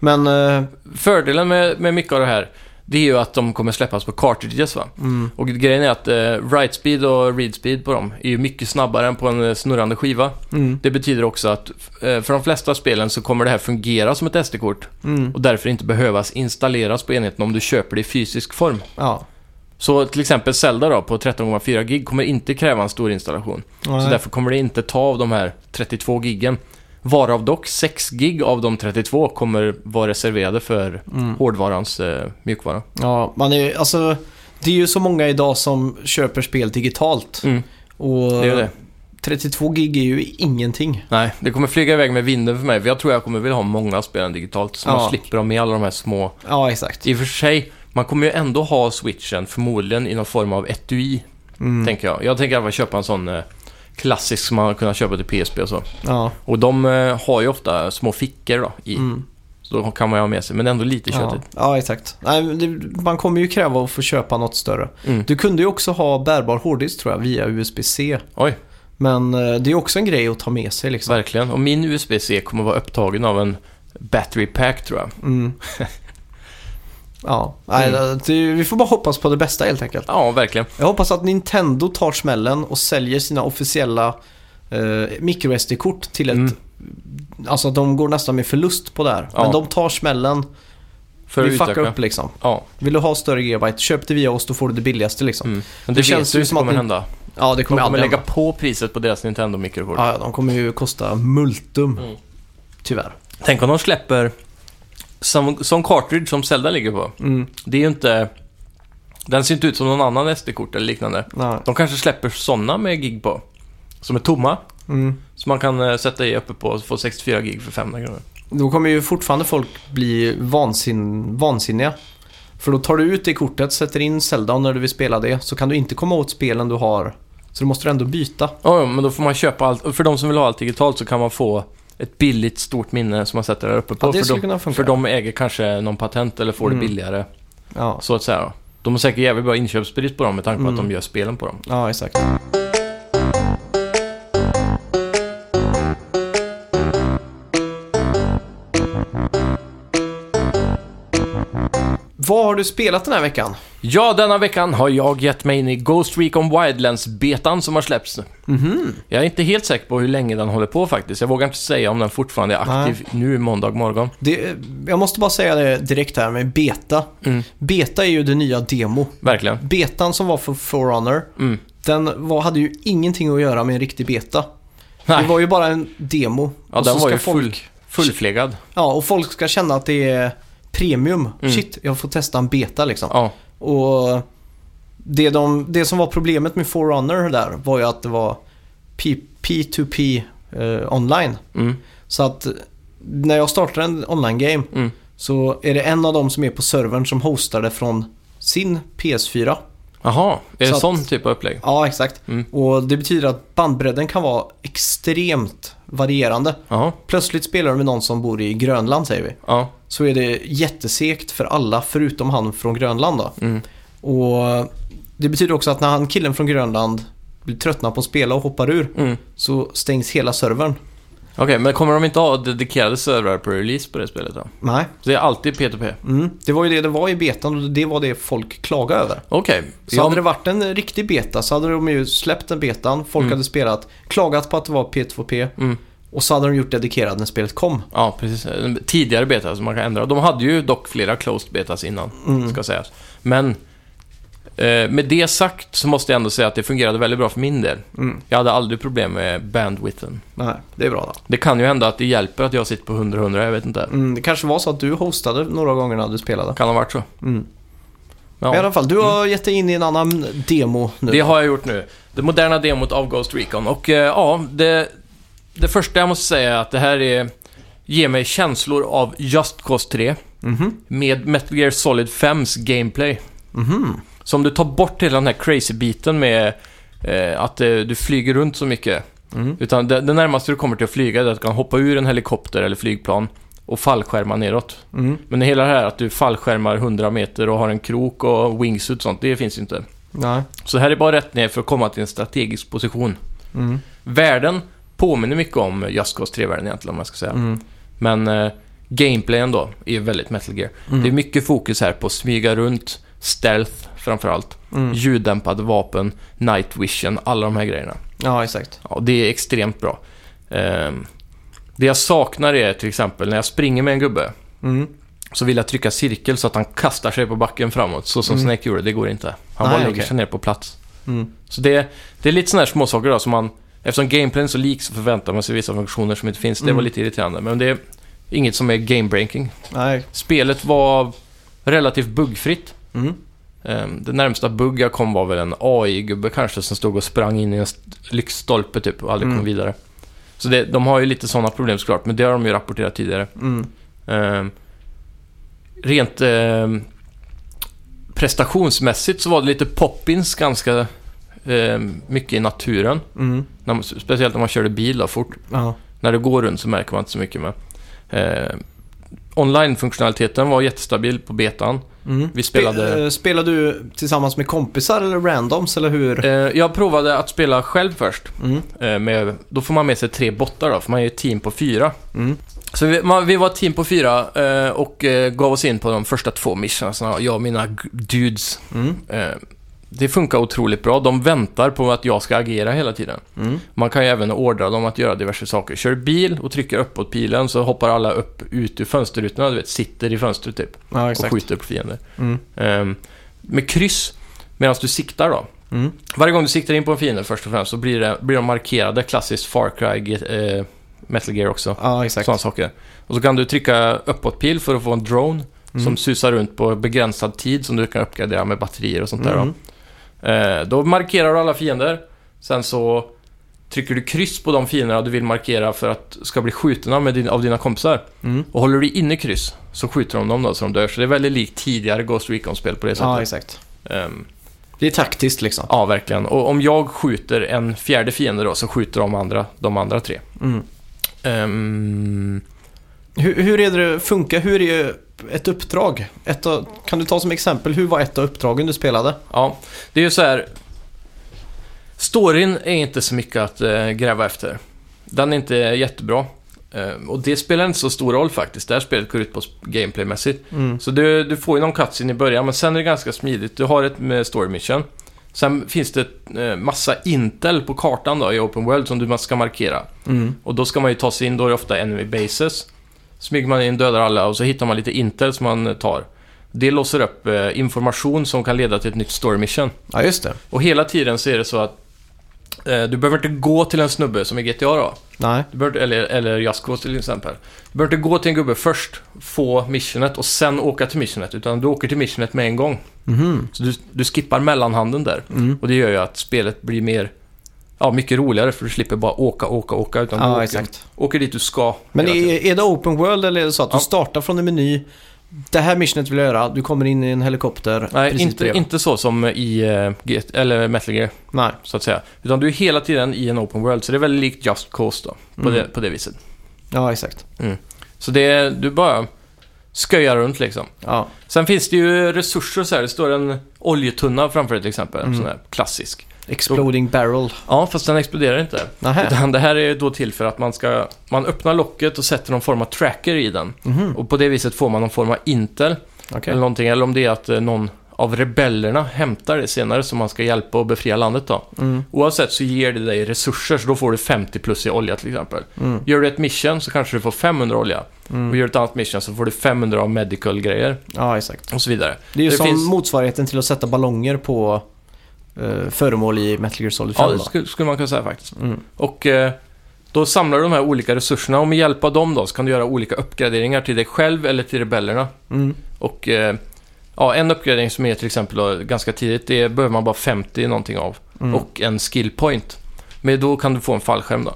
[SPEAKER 3] Men, eh,
[SPEAKER 2] Fördelen med, med mycket av det här, det är ju att de kommer släppas på cartridges va?
[SPEAKER 3] mm,
[SPEAKER 2] Och grejen är att eh, write speed och read speed på dem är ju mycket snabbare än på en eh, snurrande skiva.
[SPEAKER 3] mm,
[SPEAKER 2] Det betyder också att eh, för de flesta spelen så kommer det här fungera som ett SD-kort
[SPEAKER 3] mm,
[SPEAKER 2] och därför inte behövas installeras på enheten om du köper det i fysisk form.
[SPEAKER 3] ja.
[SPEAKER 2] Så till exempel Zelda då på 13,4 gig kommer inte kräva en stor installation. Så
[SPEAKER 3] Nej.
[SPEAKER 2] därför kommer det inte ta av de här 32 giggen. Varav dock 6 gig av de 32 kommer vara reserverade för
[SPEAKER 3] Mm.
[SPEAKER 2] hårdvarans eh, mjukvara.
[SPEAKER 3] Ja, man är alltså det är ju så många idag som köper spel digitalt.
[SPEAKER 2] Mm,
[SPEAKER 3] Och
[SPEAKER 2] det är det.
[SPEAKER 3] 32 gig är ju ingenting.
[SPEAKER 2] Nej, det kommer flyga iväg med vinden för mig. för Jag tror jag kommer vilja ha många spel digitalt. Så
[SPEAKER 3] Ja.
[SPEAKER 2] man slipper ha med alla de här små.
[SPEAKER 3] Ja, exakt.
[SPEAKER 2] I och för sig, man kommer ju ändå ha switchen förmodligen i någon form av etui,
[SPEAKER 3] Mm.
[SPEAKER 2] tänker jag. Jag tänker i alla fall köpa en sån eh, klassisk som man har kunnat köpa till PSP och så.
[SPEAKER 3] Ja,
[SPEAKER 2] Och de eh, har ju ofta små fickor då i.
[SPEAKER 3] mm.
[SPEAKER 2] Så då kan man ju ha med sig, men ändå lite
[SPEAKER 3] ja.
[SPEAKER 2] köttigt.
[SPEAKER 3] ja, exakt. Nej, men det, man kommer ju kräva att få köpa något större.
[SPEAKER 2] Mm.
[SPEAKER 3] Du kunde ju också ha bärbar hårddisk tror jag via USB-C.
[SPEAKER 2] Oj,
[SPEAKER 3] Men eh, det är också en grej att ta med sig liksom.
[SPEAKER 2] verkligen. Och min USB-C kommer vara upptagen av en battery pack tror jag.
[SPEAKER 3] Mm. Ja, nej,
[SPEAKER 2] Mm.
[SPEAKER 3] eh, det, vi får bara hoppas på det bästa helt enkelt.
[SPEAKER 2] Ja, verkligen.
[SPEAKER 3] Jag hoppas att Nintendo tar smällen och säljer sina officiella eh, microSD-kort till ett...
[SPEAKER 2] Mm.
[SPEAKER 3] Alltså de går nästan med förlust på det här.
[SPEAKER 2] Ja.
[SPEAKER 3] Men de tar smällen.
[SPEAKER 2] För att
[SPEAKER 3] vi fuckar
[SPEAKER 2] utöka.
[SPEAKER 3] upp liksom.
[SPEAKER 2] Ja,
[SPEAKER 3] Vill du ha större gigabyte, köp det via oss då får du det billigaste liksom.
[SPEAKER 2] mm. Men
[SPEAKER 3] Det
[SPEAKER 2] det,
[SPEAKER 3] känns
[SPEAKER 2] känns
[SPEAKER 3] ju
[SPEAKER 2] ju
[SPEAKER 3] som
[SPEAKER 2] som kommer
[SPEAKER 3] att-
[SPEAKER 2] hända.
[SPEAKER 3] Ja, det
[SPEAKER 2] Mm.
[SPEAKER 3] kommer
[SPEAKER 2] De kommer
[SPEAKER 3] aldrig
[SPEAKER 2] lägga
[SPEAKER 3] lägga...
[SPEAKER 2] på priset på deras Nintendo-mikrokort.
[SPEAKER 3] Ja, ja, de kommer ju kosta multum.
[SPEAKER 2] Mm.
[SPEAKER 3] Tyvärr.
[SPEAKER 2] Tänk om de släpper som, som cartridge som Zelda ligger på.
[SPEAKER 3] Mm.
[SPEAKER 2] Det är ju inte... Den ser inte ut som någon annan SD-kort eller liknande.
[SPEAKER 3] Nej.
[SPEAKER 2] De kanske släpper sådana med gig på. Som är tomma.
[SPEAKER 3] Mm. Som-
[SPEAKER 2] Som man kan eh, sätta i uppe på och få 64 gig för 500 kronor.
[SPEAKER 3] Då kommer ju fortfarande folk bli vansin... vansinniga. För då tar du ut det kortet, sätter in Zelda och när du vill spela det så kan du inte komma åt spelen du har. Så då måste du ändå byta.
[SPEAKER 2] Ja, ja, men då får man köpa allt. Och För de som vill ha allt digitalt så kan man få ett billigt stort minne som man sätter där uppe på.
[SPEAKER 3] Ja, det
[SPEAKER 2] för,
[SPEAKER 3] skulle
[SPEAKER 2] de,
[SPEAKER 3] kunna funka.
[SPEAKER 2] för de äger kanske någon patent eller får
[SPEAKER 3] Mm.
[SPEAKER 2] det billigare.
[SPEAKER 3] Ja,
[SPEAKER 2] Så att säga. då. De har säkert jävligt bra inköpspris på dem med tanke på
[SPEAKER 3] Mm.
[SPEAKER 2] att de gör spelen på dem.
[SPEAKER 3] ja exakt. Vad har du spelat den här veckan?
[SPEAKER 2] Ja, denna veckan har jag gett mig in i Ghost Recon Wildlands-betan som har släppts.
[SPEAKER 3] Mhm.
[SPEAKER 2] Jag är inte helt säker på hur länge den håller på faktiskt. Jag vågar inte säga om den fortfarande är aktiv nu måndag morgon.
[SPEAKER 3] Det, jag måste bara säga det direkt här med beta.
[SPEAKER 2] Mm.
[SPEAKER 3] Beta är ju det nya demo.
[SPEAKER 2] Verkligen.
[SPEAKER 3] Betan som var för Forerunner,
[SPEAKER 2] Mm.
[SPEAKER 3] den var, hade ju ingenting att göra med en riktig beta.
[SPEAKER 2] Nej,
[SPEAKER 3] Det var ju bara en demo.
[SPEAKER 2] ja,
[SPEAKER 3] Och
[SPEAKER 2] den
[SPEAKER 3] så
[SPEAKER 2] var
[SPEAKER 3] ska
[SPEAKER 2] ju
[SPEAKER 3] folk-
[SPEAKER 2] full, fullflegad.
[SPEAKER 3] Ja, och folk ska känna att det är premium. Shit, jag får testa en beta liksom.
[SPEAKER 2] Mm. Ja.
[SPEAKER 3] Och det, de, det som var problemet med Forerunner där var ju att det var P, P2P eh, online.
[SPEAKER 2] Mm.
[SPEAKER 3] Så att när jag startar en online-game
[SPEAKER 2] Mm.
[SPEAKER 3] så är det en av dem som är på servern som hostar det från sin PS4.
[SPEAKER 2] Jaha, är
[SPEAKER 3] Så
[SPEAKER 2] det
[SPEAKER 3] att-
[SPEAKER 2] sån typ av upplägg?
[SPEAKER 3] Ja, exakt.
[SPEAKER 2] Mm.
[SPEAKER 3] Och det betyder att bandbredden kan vara extremt varierande.
[SPEAKER 2] Jaha,
[SPEAKER 3] Plötsligt spelar du med någon som bor i Grönland säger vi.
[SPEAKER 2] ja.
[SPEAKER 3] så är det jättesekt för alla förutom han från Grönland. Då.
[SPEAKER 2] Mm.
[SPEAKER 3] Och Det betyder också att när han killen från Grönland blir tröttna på att spela och hoppar ur
[SPEAKER 2] Mm.
[SPEAKER 3] så stängs hela servern.
[SPEAKER 2] Okej, men kommer de inte ha dedikerade servrar på release på det spelet då?
[SPEAKER 3] Nej.
[SPEAKER 2] Så det är alltid P2P?
[SPEAKER 3] Mm. Det var ju det det var i betan och det var det folk klagade över.
[SPEAKER 2] Okej.
[SPEAKER 3] Så
[SPEAKER 2] Ja,
[SPEAKER 3] hade det varit en riktig beta så hade de ju släppt den betan, folk hade spelat, klagat på att det var P2P
[SPEAKER 2] Mm.
[SPEAKER 3] och så hade de gjort dedikerad när spelet kom.
[SPEAKER 2] Ja, precis. En Tidigare
[SPEAKER 3] Mm.
[SPEAKER 2] beta som man kan ändra. De hade ju dock flera closed betas innan, ska sägas. Men Eh, med det sagt så måste jag ändå säga att det fungerade väldigt bra för min del.
[SPEAKER 3] Mm.
[SPEAKER 2] Jag hade aldrig problem med bandwidthen.
[SPEAKER 3] Nej, det är bra då.
[SPEAKER 2] Det kan ju hända att det hjälper att jag sitter på 100-100, jag vet inte.
[SPEAKER 3] Mm, det kanske var så att du hostade några gånger när du spelade.
[SPEAKER 2] Kan ha varit så.
[SPEAKER 3] Mm.
[SPEAKER 2] Ja. Mm.
[SPEAKER 3] Men i alla fall, du har gett dig in i en annan demo nu.
[SPEAKER 2] Det har jag gjort nu. Det moderna demot av Ghost Recon. Och eh, ja, det, det första jag måste säga är att det här är, ger mig känslor av Just Cause 3
[SPEAKER 3] Mhm.
[SPEAKER 2] med Metal Gear Solid 5s gameplay.
[SPEAKER 3] Mhm.
[SPEAKER 2] Så om du tar bort hela den här crazy-biten med eh, att eh, du flyger runt så mycket.
[SPEAKER 3] Mm.
[SPEAKER 2] Utan det, det närmaste du kommer till att flyga är att du kan hoppa ur en helikopter eller flygplan och fallskärma neråt.
[SPEAKER 3] Mm.
[SPEAKER 2] Men hela det här att du fallskärmar 100 meter och har en krok och wingsuit och sånt, det finns ju inte.
[SPEAKER 3] Nej.
[SPEAKER 2] Så här är bara rätt ner för att komma till en strategisk position.
[SPEAKER 3] Mm.
[SPEAKER 2] Världen påminner mycket om Just Cause 3-världen egentligen om man ska säga.
[SPEAKER 3] Mm.
[SPEAKER 2] Men eh, gameplayen då är väldigt Metal Gear.
[SPEAKER 3] Mm.
[SPEAKER 2] Det är mycket fokus här på att smyga runt, stealth framförallt,
[SPEAKER 3] Mm.
[SPEAKER 2] ljuddämpade vapen, night vision, alla de här grejerna.
[SPEAKER 3] Ja, exakt.
[SPEAKER 2] Ja, det är extremt bra. Ehm, det jag saknar är till exempel när jag springer med en gubbe
[SPEAKER 3] Mm.
[SPEAKER 2] så vill jag trycka cirkel så att han kastar sig på backen framåt, så som
[SPEAKER 3] Mm.
[SPEAKER 2] Snake gjorde. Det går inte. Han
[SPEAKER 3] Nej,
[SPEAKER 2] bara lägger
[SPEAKER 3] okej.
[SPEAKER 2] sig ner på plats.
[SPEAKER 3] Mm.
[SPEAKER 2] Så det, det är lite sådana här småsaker då som man... Eftersom gameplayen är så lik så förväntar man sig vissa funktioner som inte finns. Det var
[SPEAKER 3] Mm.
[SPEAKER 2] lite irriterande. Men det är inget som är game-breaking.
[SPEAKER 3] Nej.
[SPEAKER 2] Spelet var relativt buggfritt.
[SPEAKER 3] Mm.
[SPEAKER 2] Ehm, Det närmsta bugg jag kom var väl en AI-gubbe kanske som stod och sprang in i en st- lyktstolpe typ och aldrig
[SPEAKER 3] Mm.
[SPEAKER 2] kom vidare. Så det, de har ju lite sådana problem såklart, men det har de ju rapporterat tidigare.
[SPEAKER 3] Mm.
[SPEAKER 2] Ehm, Rent ehm, prestationsmässigt så var det lite poppins ganska ehm, mycket i naturen.
[SPEAKER 3] Mm.
[SPEAKER 2] När man, speciellt när man körde bil då, fort.
[SPEAKER 3] Ja.
[SPEAKER 2] När det går runt så märker man inte så mycket med. Eh, Online-funktionaliteten var jättestabil på betan.
[SPEAKER 3] Mm.
[SPEAKER 2] Vi spelade-
[SPEAKER 3] Spe- eh, spelade du tillsammans med kompisar eller randoms eller hur?
[SPEAKER 2] Eh, jag provade att spela själv först.
[SPEAKER 3] Mm.
[SPEAKER 2] Eh, med, då får man med sig tre bottar då, för man är ju ett team på fyra.
[SPEAKER 3] Mm.
[SPEAKER 2] Så vi, man, vi var ett team på fyra eh, och eh, gav oss in på de första två missionerna, jag och mina g- dudes.
[SPEAKER 3] Mm.
[SPEAKER 2] Eh, det funkar otroligt bra. De väntar på att jag ska agera hela tiden.
[SPEAKER 3] Mm.
[SPEAKER 2] Man kan ju även ordra dem att göra diverse saker. Kör bil och trycker uppåt pilen så hoppar alla upp ut ur fönsterrutorna, du vet, sitter i fönstret typ
[SPEAKER 3] Ja,
[SPEAKER 2] och
[SPEAKER 3] exakt.
[SPEAKER 2] skjuter på fiender.
[SPEAKER 3] Mm.
[SPEAKER 2] Ehm, med kryss, medan du siktar då.
[SPEAKER 3] Mm.
[SPEAKER 2] Varje gång du siktar in på en fiende först och främst så blir, det, blir de markerade, klassiskt Far Cry, eh, Metal Gear också.
[SPEAKER 3] Ja, exakt.
[SPEAKER 2] Sådana saker. Och så kan du trycka uppåt pil för att få en drone
[SPEAKER 3] Mm.
[SPEAKER 2] som susar runt på begränsad tid som du kan uppgradera med batterier och sånt där. Då.
[SPEAKER 3] Mm.
[SPEAKER 2] Eh, Då markerar du alla fiender. Sen så trycker du kryss på de fienderna du vill markera för att ska bli skjutna med din, av dina kompisar.
[SPEAKER 3] Mm.
[SPEAKER 2] Och håller du inne kryss så skjuter de dem då så de dör. Så det är väldigt likt tidigare Ghost Recon-spel på det
[SPEAKER 3] Ja,
[SPEAKER 2] sättet.
[SPEAKER 3] exakt.
[SPEAKER 2] Ja,
[SPEAKER 3] Det är taktiskt liksom.
[SPEAKER 2] ja, verkligen. Och om jag skjuter en fjärde fiende då så skjuter de andra, de andra tre.
[SPEAKER 3] Mm.
[SPEAKER 2] Ehm,
[SPEAKER 3] Hur, hur är det funkar? Hur är ett uppdrag? Ett av, kan du ta som exempel, hur var ett av uppdragen du spelade?
[SPEAKER 2] ja, det är ju så här. Storyn är inte så mycket att eh, gräva efter. Den är inte jättebra. Eh, och det spelar inte så stor roll faktiskt. Det här spelet går ut på sp- gameplaymässigt.
[SPEAKER 3] Mm.
[SPEAKER 2] Så du, du får ju någon cutscene i början, men sen är det ganska smidigt. Du har ett med story mission. Sen finns det eh, massa intel på kartan då, i Open World som du ska markera.
[SPEAKER 3] Mm.
[SPEAKER 2] Och då ska man ju ta sig in, då är det ofta enemy bases. Smyger man in, dödar alla och så hittar man lite intel som man eh, tar. Det låser upp eh, information som kan leda till ett nytt story mission.
[SPEAKER 3] Ja, just det.
[SPEAKER 2] Och hela tiden så är det så att eh, du behöver inte gå till en snubbe som i GTA då.
[SPEAKER 3] Nej.
[SPEAKER 2] Du behöver, inte- eller, eller Jasko till exempel. Du behöver inte gå till en gubbe först, få missionet och sen åka till missionet. Utan du åker till missionet med en gång.
[SPEAKER 3] Mhm.
[SPEAKER 2] Så du, du skippar mellanhanden där.
[SPEAKER 3] Mm.
[SPEAKER 2] Och det gör ju att spelet blir mer, ja mycket roligare för du slipper bara åka, åka, åka. Utan du
[SPEAKER 3] Ja,
[SPEAKER 2] åker,
[SPEAKER 3] exakt.
[SPEAKER 2] åker dit du ska.
[SPEAKER 3] Men
[SPEAKER 2] hela
[SPEAKER 3] är,
[SPEAKER 2] tiden.
[SPEAKER 3] är det open world eller är det så att
[SPEAKER 2] Ja.
[SPEAKER 3] du startar från en meny? Det här missionet vill jag göra, du kommer in i en helikopter.
[SPEAKER 2] Nej,
[SPEAKER 3] precis
[SPEAKER 2] inte,
[SPEAKER 3] bredvid.
[SPEAKER 2] inte så som i eh, Get, eller Metal Gear,
[SPEAKER 3] Nej.
[SPEAKER 2] så att säga. Utan du är hela tiden i en open world, så det är väldigt likt Just Cause då, på,
[SPEAKER 3] Mm.
[SPEAKER 2] det, på det viset.
[SPEAKER 3] Ja, exakt.
[SPEAKER 2] Så det är, du bara sköjar runt liksom.
[SPEAKER 3] Ja.
[SPEAKER 2] Sen finns det ju resurser så här. Det står en oljetunna framför dig till exempel. En
[SPEAKER 3] Mm.
[SPEAKER 2] sån här klassisk.
[SPEAKER 3] Exploding barrel.
[SPEAKER 2] Ja, fast den exploderar inte.
[SPEAKER 3] Nähä.
[SPEAKER 2] Utan det här är ju då till för att man ska... Man öppnar locket och sätter någon form av tracker i den.
[SPEAKER 3] Mhm.
[SPEAKER 2] Och på det viset får man någon form av intel
[SPEAKER 3] Okej.
[SPEAKER 2] eller någonting. Eller om det är att eh, någon av rebellerna hämtar det senare som man ska hjälpa och befria landet då.
[SPEAKER 3] Mm.
[SPEAKER 2] Oavsett så ger det dig resurser, så då får du 50 plus i olja till exempel.
[SPEAKER 3] Mm.
[SPEAKER 2] Gör du ett mission så kanske du får 500 olja.
[SPEAKER 3] Mm.
[SPEAKER 2] Och gör du ett annat mission så får du 500 av medical-grejer
[SPEAKER 3] Ja, exakt.
[SPEAKER 2] och så vidare.
[SPEAKER 3] Det är ju
[SPEAKER 2] Det
[SPEAKER 3] som
[SPEAKER 2] finns-
[SPEAKER 3] motsvarigheten till att sätta ballonger på eh, föremål i Metal Gear Solid 5.
[SPEAKER 2] Ja, det
[SPEAKER 3] då.
[SPEAKER 2] skulle, skulle man kunna säga faktiskt.
[SPEAKER 3] Mm.
[SPEAKER 2] Och eh, då samlar du de här olika resurserna och med hjälp av dem då så kan du göra olika uppgraderingar till dig själv eller till rebellerna.
[SPEAKER 3] Mm.
[SPEAKER 2] Och eh, ja, en uppgradering som är till exempel då, ganska tidigt, det behöver man bara 50 någonting av.
[SPEAKER 3] Mm.
[SPEAKER 2] Och en skill point. Men då kan du få en fallskärm då.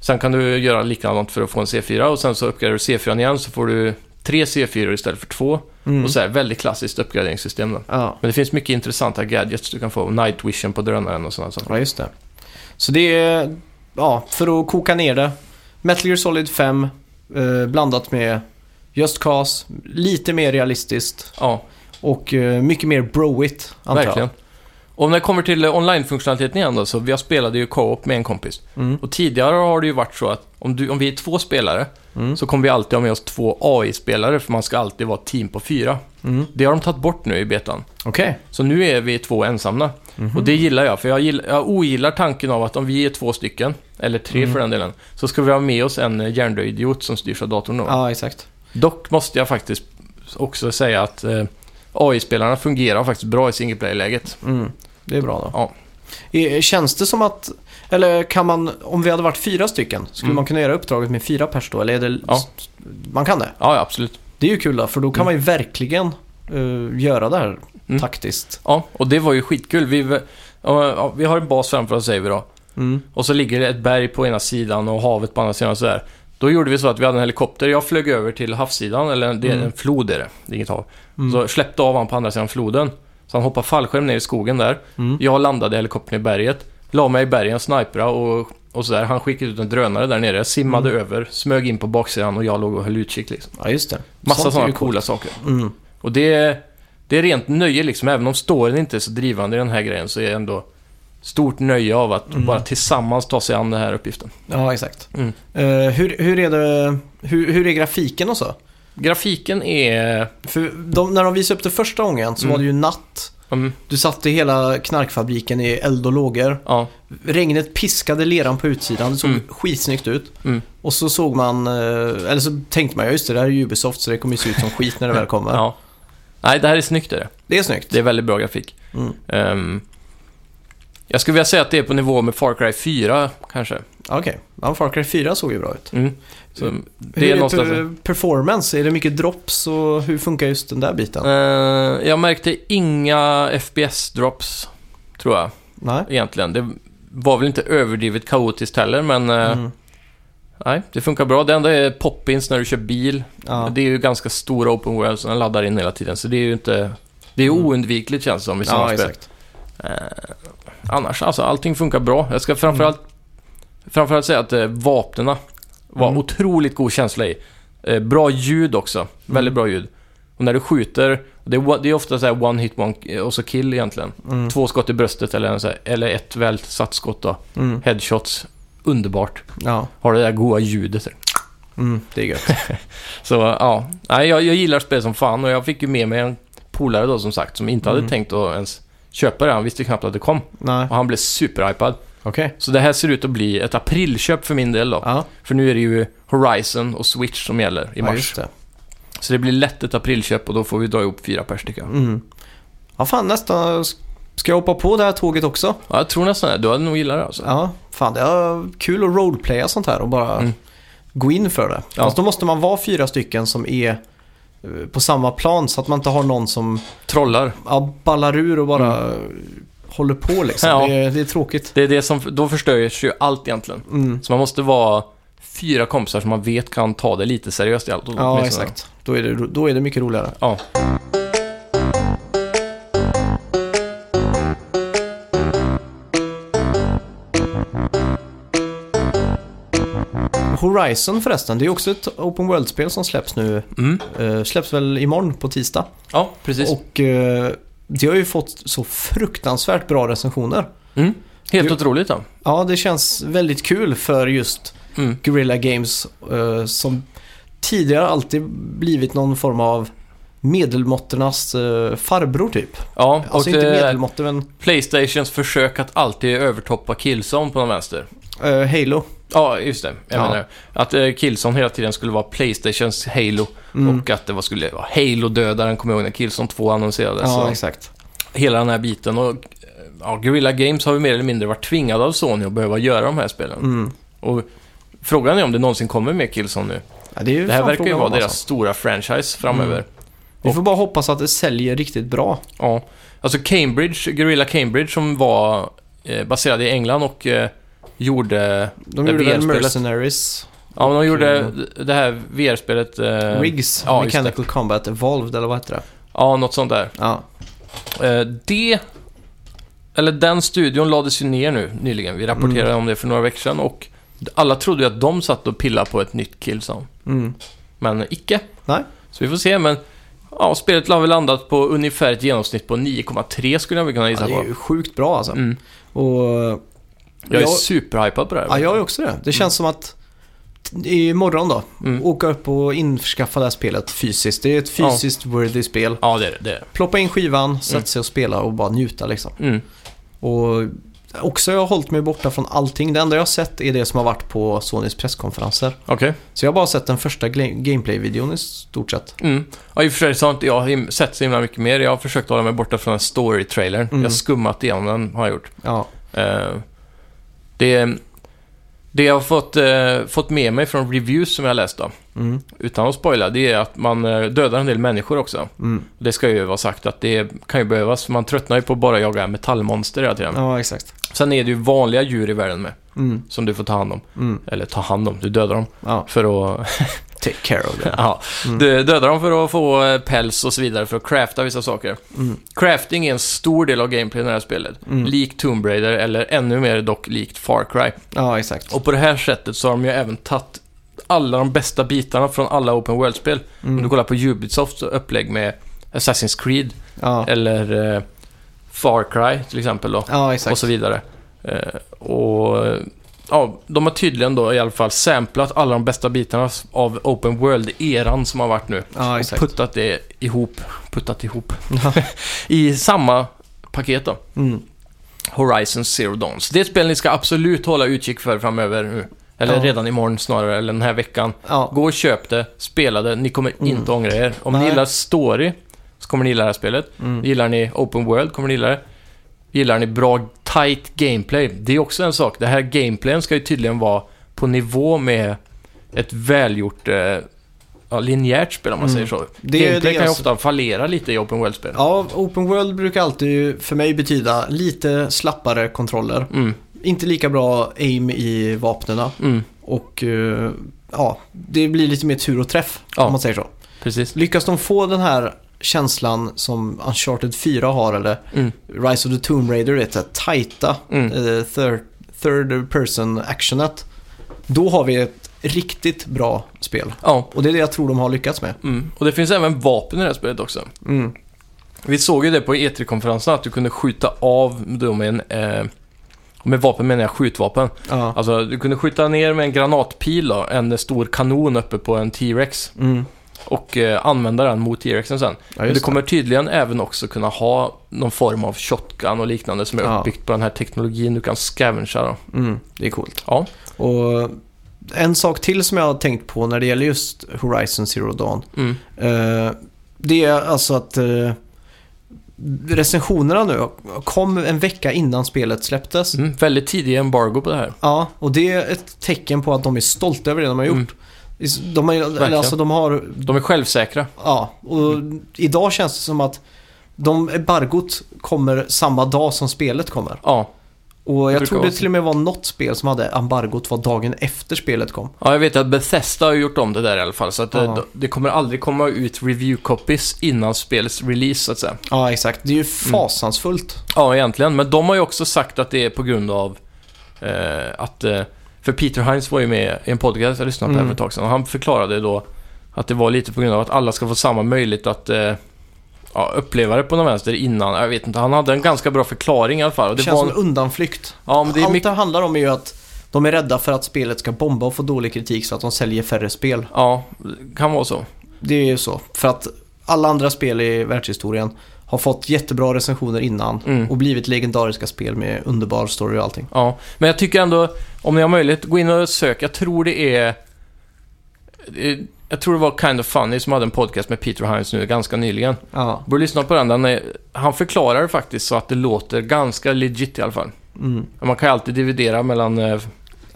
[SPEAKER 2] Sen kan du göra likadant för att få en C4 och sen så uppgraderar du C4 igen så får du tre C4 istället för två.
[SPEAKER 3] Mm.
[SPEAKER 2] Och så här, väldigt klassiskt uppgraderingssystem då.
[SPEAKER 3] ja.
[SPEAKER 2] Men det finns mycket intressanta gadgets du kan få. Night vision på drönaren och sådana saker.
[SPEAKER 3] ja, just det. Så det är, ja, för att koka ner det. Metal Gear Solid 5 eh, blandat med Just Cause, lite mer realistiskt
[SPEAKER 2] Ja,
[SPEAKER 3] och eh, mycket mer broigt antar
[SPEAKER 2] verkligen. Och när det kommer till eh, online-funktionaliteten igen då, så jag spelade ju co-op med en kompis.
[SPEAKER 3] jag. Mm.
[SPEAKER 2] Och tidigare har det ju varit så att om, du, om vi är två spelare
[SPEAKER 3] Mm.
[SPEAKER 2] så kommer vi alltid ha med oss två AI-spelare för man ska alltid vara ett team på fyra.
[SPEAKER 3] Mm.
[SPEAKER 2] Det har de tagit bort nu i betan.
[SPEAKER 3] Okej.
[SPEAKER 2] Så nu är vi två ensamma.
[SPEAKER 3] Mm-hmm.
[SPEAKER 2] Och det gillar jag, för jag, gillar, jag ogillar tanken av att om vi är två stycken, eller tre
[SPEAKER 3] Mm.
[SPEAKER 2] för den delen, så ska vi ha med oss en eh, hjärndöd idiot som styrs av datorn. Då.
[SPEAKER 3] Ja, exakt.
[SPEAKER 2] Dock måste jag faktiskt också säga att eh, AI-spelarna fungerar faktiskt bra i single player-läget.
[SPEAKER 3] Mm. Det är bra då.
[SPEAKER 2] Ja.
[SPEAKER 3] Eh, Känns det som att, eller kan man, om vi hade varit fyra stycken, skulle
[SPEAKER 2] Mm.
[SPEAKER 3] man kunna göra uppdraget med fyra pers då? Eller är det,
[SPEAKER 2] Ja.
[SPEAKER 3] man kan det?
[SPEAKER 2] Ja, ja, absolut.
[SPEAKER 3] Det är ju kul då, för då kan
[SPEAKER 2] Mm.
[SPEAKER 3] man ju verkligen eh, göra det här
[SPEAKER 2] Mm.
[SPEAKER 3] taktiskt.
[SPEAKER 2] Ja, och det var ju skitkul. Vi, ja, ja, vi har en bas framför oss, säger vi då.
[SPEAKER 3] Mm.
[SPEAKER 2] Och så ligger det ett berg på ena sidan och havet på andra sidan och sådär. Då gjorde vi så att vi hade en helikopter. Jag flög över till havssidan, eller det är
[SPEAKER 3] Mm.
[SPEAKER 2] en flod är det, det är inget hav.
[SPEAKER 3] Mm.
[SPEAKER 2] Så släppte av han på andra sidan floden. Så han hoppade fallskärm ner i skogen där.
[SPEAKER 3] Mm.
[SPEAKER 2] Jag landade i helikoptern i berget. La mig i bergen, snipra och, och sådär. Han skickade ut en drönare där nere, simmade
[SPEAKER 3] Mm.
[SPEAKER 2] över, smög in på baksidan och jag låg och höll utkik liksom.
[SPEAKER 3] Ja, just det.
[SPEAKER 2] Massa
[SPEAKER 3] Sånt är
[SPEAKER 2] sådana
[SPEAKER 3] ju coolt.
[SPEAKER 2] coola saker.
[SPEAKER 3] Mm.
[SPEAKER 2] Och det, det är rent nöje liksom. Även om storyn inte är så drivande i den här grejen så är det ändå stort nöje av att
[SPEAKER 3] Mm.
[SPEAKER 2] bara tillsammans ta sig an den här uppgiften.
[SPEAKER 3] Ja, exakt.
[SPEAKER 2] Mm.
[SPEAKER 3] Eh, hur, hur är det, hur, hur är grafiken och så?
[SPEAKER 2] Grafiken är...
[SPEAKER 3] För de, när de visade upp det första gången så
[SPEAKER 2] Mm.
[SPEAKER 3] var det ju natt.
[SPEAKER 2] Mm,
[SPEAKER 3] Du satt i hela knarkfabriken i eld och lågor.
[SPEAKER 2] ja,
[SPEAKER 3] Regnet piskade leran på utsidan, det såg
[SPEAKER 2] Mm.
[SPEAKER 3] skitsnyggt ut.
[SPEAKER 2] Mm.
[SPEAKER 3] Och så såg man, eh, eller så tänkte man, ja just det, det här är ju Ubisoft så det kommer ju se ut som skit när det väl kommer.
[SPEAKER 2] [laughs] ja. Nej, det här är snyggt är det.
[SPEAKER 3] Det är snyggt.
[SPEAKER 2] Det är väldigt bra grafik.
[SPEAKER 3] Mm.
[SPEAKER 2] Ehm, jag skulle vilja säga att det är på nivå med Far Cry 4, kanske.
[SPEAKER 3] Okej, ja, Far Cry 4 såg ju bra ut.
[SPEAKER 2] Mm. Så,
[SPEAKER 3] hur
[SPEAKER 2] det är
[SPEAKER 3] är
[SPEAKER 2] någonstans...
[SPEAKER 3] per- performance? Är det mycket drops och hur funkar just den där biten?
[SPEAKER 2] Eh, jag märkte inga FPS-drops, tror jag,
[SPEAKER 3] Nej?
[SPEAKER 2] egentligen. Det var väl inte överdrivet kaotiskt heller, men... eh,
[SPEAKER 3] Mm.
[SPEAKER 2] Nej, det funkar bra. Det enda är poppins när du kör bil.
[SPEAKER 3] Ja.
[SPEAKER 2] Det är ju ganska stora open worlds, och den laddar in hela tiden. Så det är ju inte... Det är
[SPEAKER 3] Mm.
[SPEAKER 2] oundvikligt känns det som i sådana
[SPEAKER 3] ja,
[SPEAKER 2] spel.
[SPEAKER 3] exakt.
[SPEAKER 2] Eh, annars, alltså allting funkar bra. Jag ska
[SPEAKER 3] Mm.
[SPEAKER 2] framförallt, framförallt säga att eh, vapnena var
[SPEAKER 3] Mm.
[SPEAKER 2] otroligt god känsla i. Eh, bra ljud också. Väldigt
[SPEAKER 3] Mm.
[SPEAKER 2] bra ljud. Och när du skjuter, det är, det är ofta så här one hit one eh, och så kill egentligen.
[SPEAKER 3] Mm.
[SPEAKER 2] Två skott i bröstet eller, en så här, eller ett väl satt skott då.
[SPEAKER 3] Mm.
[SPEAKER 2] Headshots. Underbart.
[SPEAKER 3] Ja,
[SPEAKER 2] Har det där goa ljudet.
[SPEAKER 3] mm. det är gött.
[SPEAKER 2] Så ja, Nej, jag, jag gillar spel som fan och jag fick ju med mig en polare då som sagt som inte hade
[SPEAKER 3] Mm.
[SPEAKER 2] tänkt att ens köpa det. Han visste knappt att det kom.
[SPEAKER 3] Nej,
[SPEAKER 2] [laughs] Och han blev superhypad.
[SPEAKER 3] okej.
[SPEAKER 2] Så det här ser ut att bli ett aprilköp för min del då.
[SPEAKER 3] Ja,
[SPEAKER 2] För nu är det ju Horizon och Switch som gäller i
[SPEAKER 3] ja,
[SPEAKER 2] mars.
[SPEAKER 3] just det.
[SPEAKER 2] så det blir lätt ett aprilköp och då får vi dra ihop fyra pers tycker jag.
[SPEAKER 3] Mm. Ja, fan nästan. Ska jag hoppa på det här tåget också?
[SPEAKER 2] Ja, jag tror nästan det. Du hade nog gillat det alltså.
[SPEAKER 3] Ja, fan det är kul att roleplaya sånt här och bara
[SPEAKER 2] Mm.
[SPEAKER 3] gå in för det.
[SPEAKER 2] Ja.
[SPEAKER 3] Fast då måste man vara fyra stycken som är eh, på samma plan så att man inte har någon som
[SPEAKER 2] Trollar.
[SPEAKER 3] ja, ballar ur och bara håller på liksom.
[SPEAKER 2] Mm. Ja.
[SPEAKER 3] Det, är- det är tråkigt.
[SPEAKER 2] Det är det som, då förstörs ju allt egentligen.
[SPEAKER 3] Mm.
[SPEAKER 2] Så man måste vara fyra kompisar som man vet kan ta det lite seriöst i allt.
[SPEAKER 3] Ja,
[SPEAKER 2] åtminstone.
[SPEAKER 3] exakt. Då är, det, då är det mycket roligare.
[SPEAKER 2] Ja.
[SPEAKER 3] Horizon förresten, det är också ett Open World-spel som släpps nu.
[SPEAKER 2] Mm.
[SPEAKER 3] Eh, släpps väl imorgon på tisdag.
[SPEAKER 2] Ja, precis.
[SPEAKER 3] Och eh, det har ju fått så fruktansvärt bra recensioner.
[SPEAKER 2] Mm. Helt
[SPEAKER 3] Du-
[SPEAKER 2] otroligt då.
[SPEAKER 3] Ja, det känns väldigt kul för just
[SPEAKER 2] Mm.
[SPEAKER 3] Guerrilla Games eh, som tidigare alltid blivit någon form av medelmåtternas eh, farbror typ.
[SPEAKER 2] Ja, och eh,
[SPEAKER 3] Alltså inte
[SPEAKER 2] det är
[SPEAKER 3] medelmåttor men
[SPEAKER 2] Playstations försök att alltid övertoppa Killzone på den vänster.
[SPEAKER 3] eh, Halo.
[SPEAKER 2] Ja, just det. Jag
[SPEAKER 3] Ja.
[SPEAKER 2] menar det. Att eh, Killzone hela tiden skulle vara Playstations Halo
[SPEAKER 3] Mm.
[SPEAKER 2] och att det var, skulle vara Halo-dödaren, kommer jag ihåg, när Killzone 2 annonserades.
[SPEAKER 3] ja,
[SPEAKER 2] Så
[SPEAKER 3] exakt.
[SPEAKER 2] hela den här biten. Och, eh, ja, Guerrilla Games har ju mer eller mindre varit tvingade av Sony att behöva göra de här spelen.
[SPEAKER 3] Mm.
[SPEAKER 2] Och frågan är om det någonsin kommer mer Killzone nu.
[SPEAKER 3] Ja, det, är ju
[SPEAKER 2] Det här
[SPEAKER 3] fan
[SPEAKER 2] verkar ju
[SPEAKER 3] frågan
[SPEAKER 2] vara
[SPEAKER 3] om,
[SPEAKER 2] deras
[SPEAKER 3] alltså.
[SPEAKER 2] stora franchise
[SPEAKER 3] Mm.
[SPEAKER 2] framöver.
[SPEAKER 3] Vi får bara hoppas att det säljer riktigt bra.
[SPEAKER 2] Ja, alltså Cambridge, Guerrilla Cambridge som var eh, baserad i England och eh, gjorde...
[SPEAKER 3] De
[SPEAKER 2] Det
[SPEAKER 3] gjorde väl eh,
[SPEAKER 2] VR-spelet.
[SPEAKER 3] Mercenaries,
[SPEAKER 2] Ja, men de gjorde
[SPEAKER 3] Okej.
[SPEAKER 2] det här VR-spelet... Eh,
[SPEAKER 3] Rigs,
[SPEAKER 2] ja, just det.
[SPEAKER 3] Mechanical Combat Evolved eller vad heter det?
[SPEAKER 2] Ja, något sånt där.
[SPEAKER 3] Ja.
[SPEAKER 2] Eh, det... Eller den studion lades ju ner nu nyligen. Vi rapporterade
[SPEAKER 3] Mm.
[SPEAKER 2] om det för några veckor sedan och alla trodde ju att de satt och pillade på ett nytt Killzone.
[SPEAKER 3] Mm.
[SPEAKER 2] Men icke.
[SPEAKER 3] Nej.
[SPEAKER 2] Så vi får se, men... Ja, spelet har väl landat på ungefär ett genomsnitt på 9,3 skulle jag väl kunna
[SPEAKER 3] Ja,
[SPEAKER 2] gissa
[SPEAKER 3] det är
[SPEAKER 2] på.
[SPEAKER 3] ju sjukt bra alltså.
[SPEAKER 2] Mm.
[SPEAKER 3] Och
[SPEAKER 2] Jag är
[SPEAKER 3] Jag-
[SPEAKER 2] superhypad på det här.
[SPEAKER 3] Ja, jag är också det. Det känns som att t- imorgon då,
[SPEAKER 2] Mm.
[SPEAKER 3] åka upp och införskaffa det här spelet fysiskt. Det är ett
[SPEAKER 2] Ja. Mm.
[SPEAKER 3] fysiskt worthy spel.
[SPEAKER 2] Ja, det är det. det, är det.
[SPEAKER 3] Ploppa in skivan, sätta sig och spela och bara njuta liksom.
[SPEAKER 2] Mm.
[SPEAKER 3] Och också jag har hållit mig borta från allting. Det enda jag har sett är det som har varit på Sonys presskonferenser.
[SPEAKER 2] Okej.
[SPEAKER 3] Så jag har bara sett den första gla- gameplay-videon i stort sett.
[SPEAKER 2] Mm. Ja, i och för sig så har inte jag him- sett så himla mycket mer. Jag har försökt hålla mig borta från den story-trailern.
[SPEAKER 3] Mm.
[SPEAKER 2] Jag har skummat igenom den, har jag gjort.
[SPEAKER 3] Ja,
[SPEAKER 2] Eh, det, det jag har fått, eh, fått med mig från reviews som jag har läst då,
[SPEAKER 3] mm.
[SPEAKER 2] utan att spoila, det är att man eh, dödar en del människor också.
[SPEAKER 3] Mm.
[SPEAKER 2] Det ska ju vara sagt att det kan ju behövas, för man tröttnar ju på att bara jaga metallmonster hela tiden.
[SPEAKER 3] ja exakt.
[SPEAKER 2] Sen är det ju vanliga djur i världen med,
[SPEAKER 3] Mm.
[SPEAKER 2] som du får ta hand om.
[SPEAKER 3] Mm.
[SPEAKER 2] Eller ta hand om, du dödar dem
[SPEAKER 3] Ja.
[SPEAKER 2] för att
[SPEAKER 3] Take care of it.
[SPEAKER 2] [laughs] Ja,
[SPEAKER 3] Mm.
[SPEAKER 2] du dödar dem för att få eh, päls och så vidare för att crafta vissa saker.
[SPEAKER 3] Mm.
[SPEAKER 2] Crafting är en stor del av gameplay i det här spelet.
[SPEAKER 3] Mm.
[SPEAKER 2] Likt Tomb Raider, eller ännu mer dock likt Far Cry.
[SPEAKER 3] [laughs] Ja, exakt.
[SPEAKER 2] Och på det här sättet så har de ju även tagit alla de bästa bitarna från alla Open World-spel. Om du
[SPEAKER 3] Mm.
[SPEAKER 2] kollar på Ubisofts upplägg med Assassin's Creed
[SPEAKER 3] Ja.
[SPEAKER 2] eller eh, Far Cry till exempel då.
[SPEAKER 3] ja,
[SPEAKER 2] Och
[SPEAKER 3] exakt.
[SPEAKER 2] så vidare. Eh, och eh, ja, de har tydligen då i alla fall samplat alla de bästa bitarna av Open World-eran som har varit nu
[SPEAKER 3] Ja,
[SPEAKER 2] och
[SPEAKER 3] exakt.
[SPEAKER 2] puttat det ihop, puttat ihop, [laughs] i samma paket då.
[SPEAKER 3] Mm.
[SPEAKER 2] Horizon Zero Dawn. Så det är ett spel ni ska absolut hålla utkik för framöver nu. Eller
[SPEAKER 3] Ja.
[SPEAKER 2] redan imorgon snarare, eller den här veckan.
[SPEAKER 3] Ja,
[SPEAKER 2] Gå och köp det, spela det, ni kommer
[SPEAKER 3] Mm.
[SPEAKER 2] inte ångra er. Om ni
[SPEAKER 3] Nej.
[SPEAKER 2] gillar story så kommer ni gilla det här spelet.
[SPEAKER 3] mm.
[SPEAKER 2] Gillar ni Open World kommer ni gilla det. Gillar ni bra tight gameplay, det är också en sak. Det här gameplayen ska ju tydligen vara på nivå med ett välgjort eh, ja, linjärt spel om man
[SPEAKER 3] Mm.
[SPEAKER 2] säger så.
[SPEAKER 3] Det-
[SPEAKER 2] gameplay
[SPEAKER 3] det är
[SPEAKER 2] kan ju
[SPEAKER 3] alltså-
[SPEAKER 2] ofta fallera lite i Open World-spel.
[SPEAKER 3] Ja, open world brukar alltid för mig betyda lite slappare kontroller.
[SPEAKER 2] Mm,
[SPEAKER 3] Inte lika bra aim i vapnena
[SPEAKER 2] mm,
[SPEAKER 3] och eh, ja, det blir lite mer tur och träff
[SPEAKER 2] Ja.
[SPEAKER 3] om man säger så.
[SPEAKER 2] precis.
[SPEAKER 3] Lyckas de få den här känslan som Uncharted 4 har eller
[SPEAKER 2] Mm,
[SPEAKER 3] Rise of the Tomb Raider, vet jag, tajta
[SPEAKER 2] mm.
[SPEAKER 3] eh, third, third person actionet. Då har vi ett riktigt bra spel.
[SPEAKER 2] Ja.
[SPEAKER 3] Och det är det jag tror de har lyckats med.
[SPEAKER 2] Mm. Och det finns även vapen i det här spelet också.
[SPEAKER 3] Mm.
[SPEAKER 2] Vi såg ju det på E3-konferensen att du kunde skjuta av då med en... Eh, med vapen menar jag skjutvapen.
[SPEAKER 3] Ja.
[SPEAKER 2] Alltså, du kunde skjuta ner med en granatpil då, en stor kanon uppe på en T-Rex.
[SPEAKER 3] Mm.
[SPEAKER 2] och eh, använda den mot T-Rexen sen.
[SPEAKER 3] Ja,
[SPEAKER 2] Men
[SPEAKER 3] just
[SPEAKER 2] du kommer tydligen även också kunna ha någon form av shotgun och liknande som är
[SPEAKER 3] Ja.
[SPEAKER 2] uppbyggt på den här teknologin du kan scavengea då.
[SPEAKER 3] det. Mm. Det är coolt.
[SPEAKER 2] Ja.
[SPEAKER 3] Och en sak till som jag har tänkt på när det gäller just Horizon Zero Dawn.
[SPEAKER 2] Mm.
[SPEAKER 3] Eh, det är alltså att eh, recensionerna nu kom en vecka innan spelet släpptes.
[SPEAKER 2] Mm. Väldigt tidig embargo på det här.
[SPEAKER 3] Ja, och det är ett tecken på att de är stolta över det de har gjort. De, har, eller
[SPEAKER 2] Verkligen.
[SPEAKER 3] alltså, de har
[SPEAKER 2] Mm, De är självsäkra.
[SPEAKER 3] Ja, och idag känns det som att de embargot kommer samma dag som spelet kommer.
[SPEAKER 2] Ja.
[SPEAKER 3] Och
[SPEAKER 2] Det
[SPEAKER 3] jag
[SPEAKER 2] brukar
[SPEAKER 3] tror det
[SPEAKER 2] vara så.
[SPEAKER 3] till och med var något spel som hade embargot var dagen efter spelet kom.
[SPEAKER 2] ja, jag vet att Bethesda har gjort om det där i alla fall. Så att
[SPEAKER 3] Ja.
[SPEAKER 2] det, det kommer aldrig komma ut review copies innan spelets release så att säga.
[SPEAKER 3] Ja, exakt. Det är ju fasansfullt.
[SPEAKER 2] Ja, egentligen. Men de har ju också sagt att det är på grund av eh, att... Eh, för Peter Hines var ju med i en podcast jag lyssnade på här
[SPEAKER 3] Mm.
[SPEAKER 2] för ett tag sedan. Och han förklarade då att det var lite på grund av att alla ska få samma möjlighet att eh, ja, uppleva det på någon vänster innan. Jag vet inte, han hade en ganska bra förklaring i alla fall. Och
[SPEAKER 3] Det
[SPEAKER 2] det
[SPEAKER 3] känns
[SPEAKER 2] var
[SPEAKER 3] som en undanflykt.
[SPEAKER 2] ja, men det är
[SPEAKER 3] Allt
[SPEAKER 2] mycket,
[SPEAKER 3] det handlar om är ju att de är rädda för att spelet ska bomba och få dålig kritik så att de säljer färre spel.
[SPEAKER 2] ja, det kan vara så.
[SPEAKER 3] Det är ju så. För att alla andra spel i världshistorien har fått jättebra recensioner innan
[SPEAKER 2] Mm.
[SPEAKER 3] och blivit legendariska spel med underbar story och allting.
[SPEAKER 2] Ja, men jag tycker ändå, om ni har möjlighet, gå in och sök. Jag tror det är... eh, Jag tror det var Kind of Funny som hade en podcast med Peter Hines nu ganska nyligen.
[SPEAKER 3] Ja,
[SPEAKER 2] Borde lyssna på den. den är, han förklarar det faktiskt så att det låter ganska legit i alla fall.
[SPEAKER 3] mm.
[SPEAKER 2] Man kan ju alltid dividera mellan eh,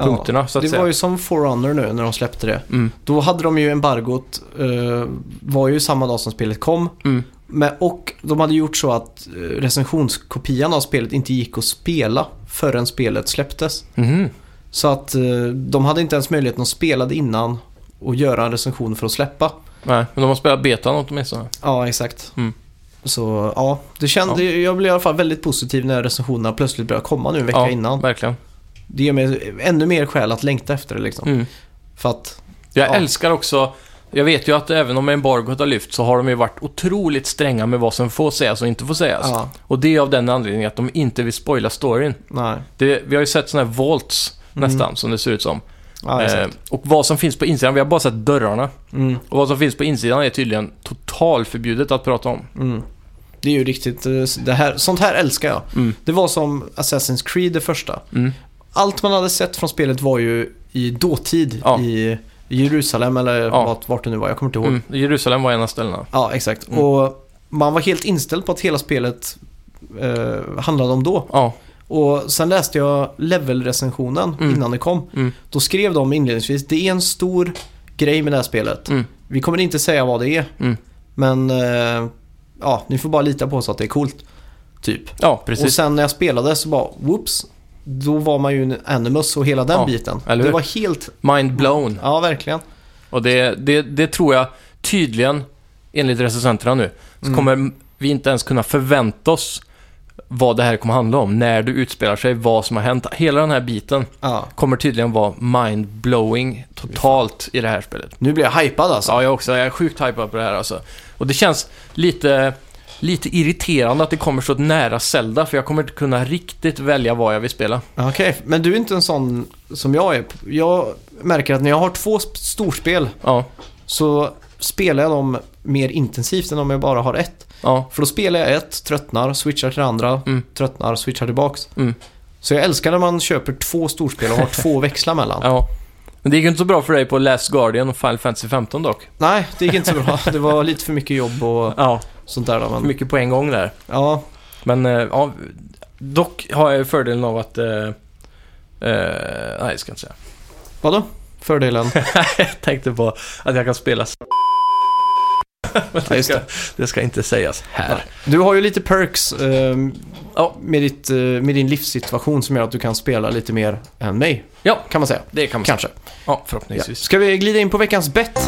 [SPEAKER 3] Ja.
[SPEAKER 2] punkterna så att
[SPEAKER 3] Det
[SPEAKER 2] säga.
[SPEAKER 3] var ju som Forerunner nu när de släppte det.
[SPEAKER 2] Mm,
[SPEAKER 3] Då hade de ju embargot, eh, var ju samma dag som spelet kom.
[SPEAKER 2] mm,
[SPEAKER 3] Men, och de hade gjort så att eh, recensionskopian av spelet inte gick att spela förrän spelet släpptes.
[SPEAKER 2] mhm.
[SPEAKER 3] Så att eh, de hade inte ens möjligheten att spela det innan och göra en recension för att släppa.
[SPEAKER 2] Nej, men de har spelat betan åtminstone.
[SPEAKER 3] Ja, exakt.
[SPEAKER 2] Mm.
[SPEAKER 3] Så ja, det kände, jag blev i alla fall väldigt positiv när recensionerna plötsligt började komma nu en vecka
[SPEAKER 2] ja,
[SPEAKER 3] innan.
[SPEAKER 2] verkligen.
[SPEAKER 3] Det ger mig ännu mer skäl att längta efter det liksom.
[SPEAKER 2] Mm.
[SPEAKER 3] För att,
[SPEAKER 2] Jag
[SPEAKER 3] Ja.
[SPEAKER 2] älskar också, jag vet ju att även om embargot har lyft så har de ju varit otroligt stränga med vad som får sägas och inte får sägas.
[SPEAKER 3] ja,
[SPEAKER 2] Och det är av den anledningen att de inte vill spoila storyn.
[SPEAKER 3] nej.
[SPEAKER 2] Det, vi har ju sett sådana här vaults
[SPEAKER 3] Mm.
[SPEAKER 2] nästan, som det ser ut som.
[SPEAKER 3] Ja,
[SPEAKER 2] eh,
[SPEAKER 3] exakt.
[SPEAKER 2] och vad som finns på insidan, vi har bara sett dörrarna.
[SPEAKER 3] Mm,
[SPEAKER 2] Och vad som finns på insidan är tydligen totalförbjudet att prata om.
[SPEAKER 3] mm. Det är ju riktigt, eh, det här, sånt här älskar jag.
[SPEAKER 2] Mm.
[SPEAKER 3] Det var som Assassin's Creed det första.
[SPEAKER 2] Mm.
[SPEAKER 3] Allt man hade sett från spelet var ju i dåtid
[SPEAKER 2] Ja.
[SPEAKER 3] i Jerusalem eller
[SPEAKER 2] Ja.
[SPEAKER 3] vart, vart det nu var, jag kommer inte ihåg.
[SPEAKER 2] Mm. Jerusalem var en av ställena.
[SPEAKER 3] Ja, exakt.
[SPEAKER 2] Mm.
[SPEAKER 3] Och man var helt inställd på att hela spelet eh, handlade om då.
[SPEAKER 2] Ja,
[SPEAKER 3] Och sen läste jag levelrecensionen
[SPEAKER 2] Mm.
[SPEAKER 3] innan det kom.
[SPEAKER 2] Mm.
[SPEAKER 3] Då skrev de inledningsvis, det är en stor grej med det här spelet.
[SPEAKER 2] Mm.
[SPEAKER 3] Vi kommer inte säga vad det är,
[SPEAKER 2] Mm.
[SPEAKER 3] men eh, ja, ni får bara lita på oss att det är coolt. Typ.
[SPEAKER 2] ja
[SPEAKER 3] Och
[SPEAKER 2] precis.
[SPEAKER 3] sen när jag spelade så bara, whoops, då var man ju en animus och hela den
[SPEAKER 2] Ja,
[SPEAKER 3] biten.
[SPEAKER 2] eller
[SPEAKER 3] det
[SPEAKER 2] hur?
[SPEAKER 3] var helt,
[SPEAKER 2] Mind blown.
[SPEAKER 3] ja verkligen.
[SPEAKER 2] Och det, det, det tror jag tydligen, enligt recensenterna nu, så
[SPEAKER 3] Mm.
[SPEAKER 2] kommer vi inte ens kunna förvänta oss vad det här kommer handla om, när det utspelar sig, vad som har hänt. Hela den här biten
[SPEAKER 3] Ja.
[SPEAKER 2] kommer tydligen vara mind-blowing totalt i det här spelet.
[SPEAKER 3] Nu blir jag hypad alltså.
[SPEAKER 2] Ja, jag också. Jag är sjukt hypad på det här alltså. Och det känns lite, lite irriterande att det kommer så nära Zelda, för jag kommer inte kunna riktigt välja vad jag vill spela.
[SPEAKER 3] Okej, men du är inte en sån som jag är. Jag märker att när jag har två sp- storspel
[SPEAKER 2] Ja,
[SPEAKER 3] så spelar jag dem mer intensivt än om jag bara har ett.
[SPEAKER 2] ja,
[SPEAKER 3] För då spelar jag ett, tröttnar, switchar till det andra,
[SPEAKER 2] Mm.
[SPEAKER 3] tröttnar, switchar tillbaks.
[SPEAKER 2] Mm.
[SPEAKER 3] Så jag älskar när man köper två storspel och har
[SPEAKER 2] [laughs]
[SPEAKER 3] två växlar mellan.
[SPEAKER 2] ja. Men det gick ju inte så bra för dig på Last Guardian och Final Fantasy 15 dock.
[SPEAKER 3] Nej, det gick inte så bra. Det var lite för mycket jobb och
[SPEAKER 2] Ja,
[SPEAKER 3] sånt där. då, Men,
[SPEAKER 2] mycket på en gång där.
[SPEAKER 3] ja,
[SPEAKER 2] Men eh, ja, dock har jag ju fördelen av att... Eh, eh, nej, jag ska inte säga.
[SPEAKER 3] vadå? Fördelen?
[SPEAKER 2] [laughs] jag tänkte på att jag kan spela... s- Men
[SPEAKER 3] Ja,
[SPEAKER 2] det,
[SPEAKER 3] just
[SPEAKER 2] ska,
[SPEAKER 3] det.
[SPEAKER 2] det ska inte sägas här.
[SPEAKER 3] Du har ju lite perks ehm,
[SPEAKER 2] Ja.
[SPEAKER 3] med, ditt, eh, med din livssituation som gör att du kan spela lite mer än mig.
[SPEAKER 2] Ja.
[SPEAKER 3] Kan man säga.
[SPEAKER 2] Det kan man säga.
[SPEAKER 3] Kanske.
[SPEAKER 2] Ja,
[SPEAKER 3] Ja.
[SPEAKER 2] förhoppningsvis.
[SPEAKER 3] Ska vi glida in på veckans bett?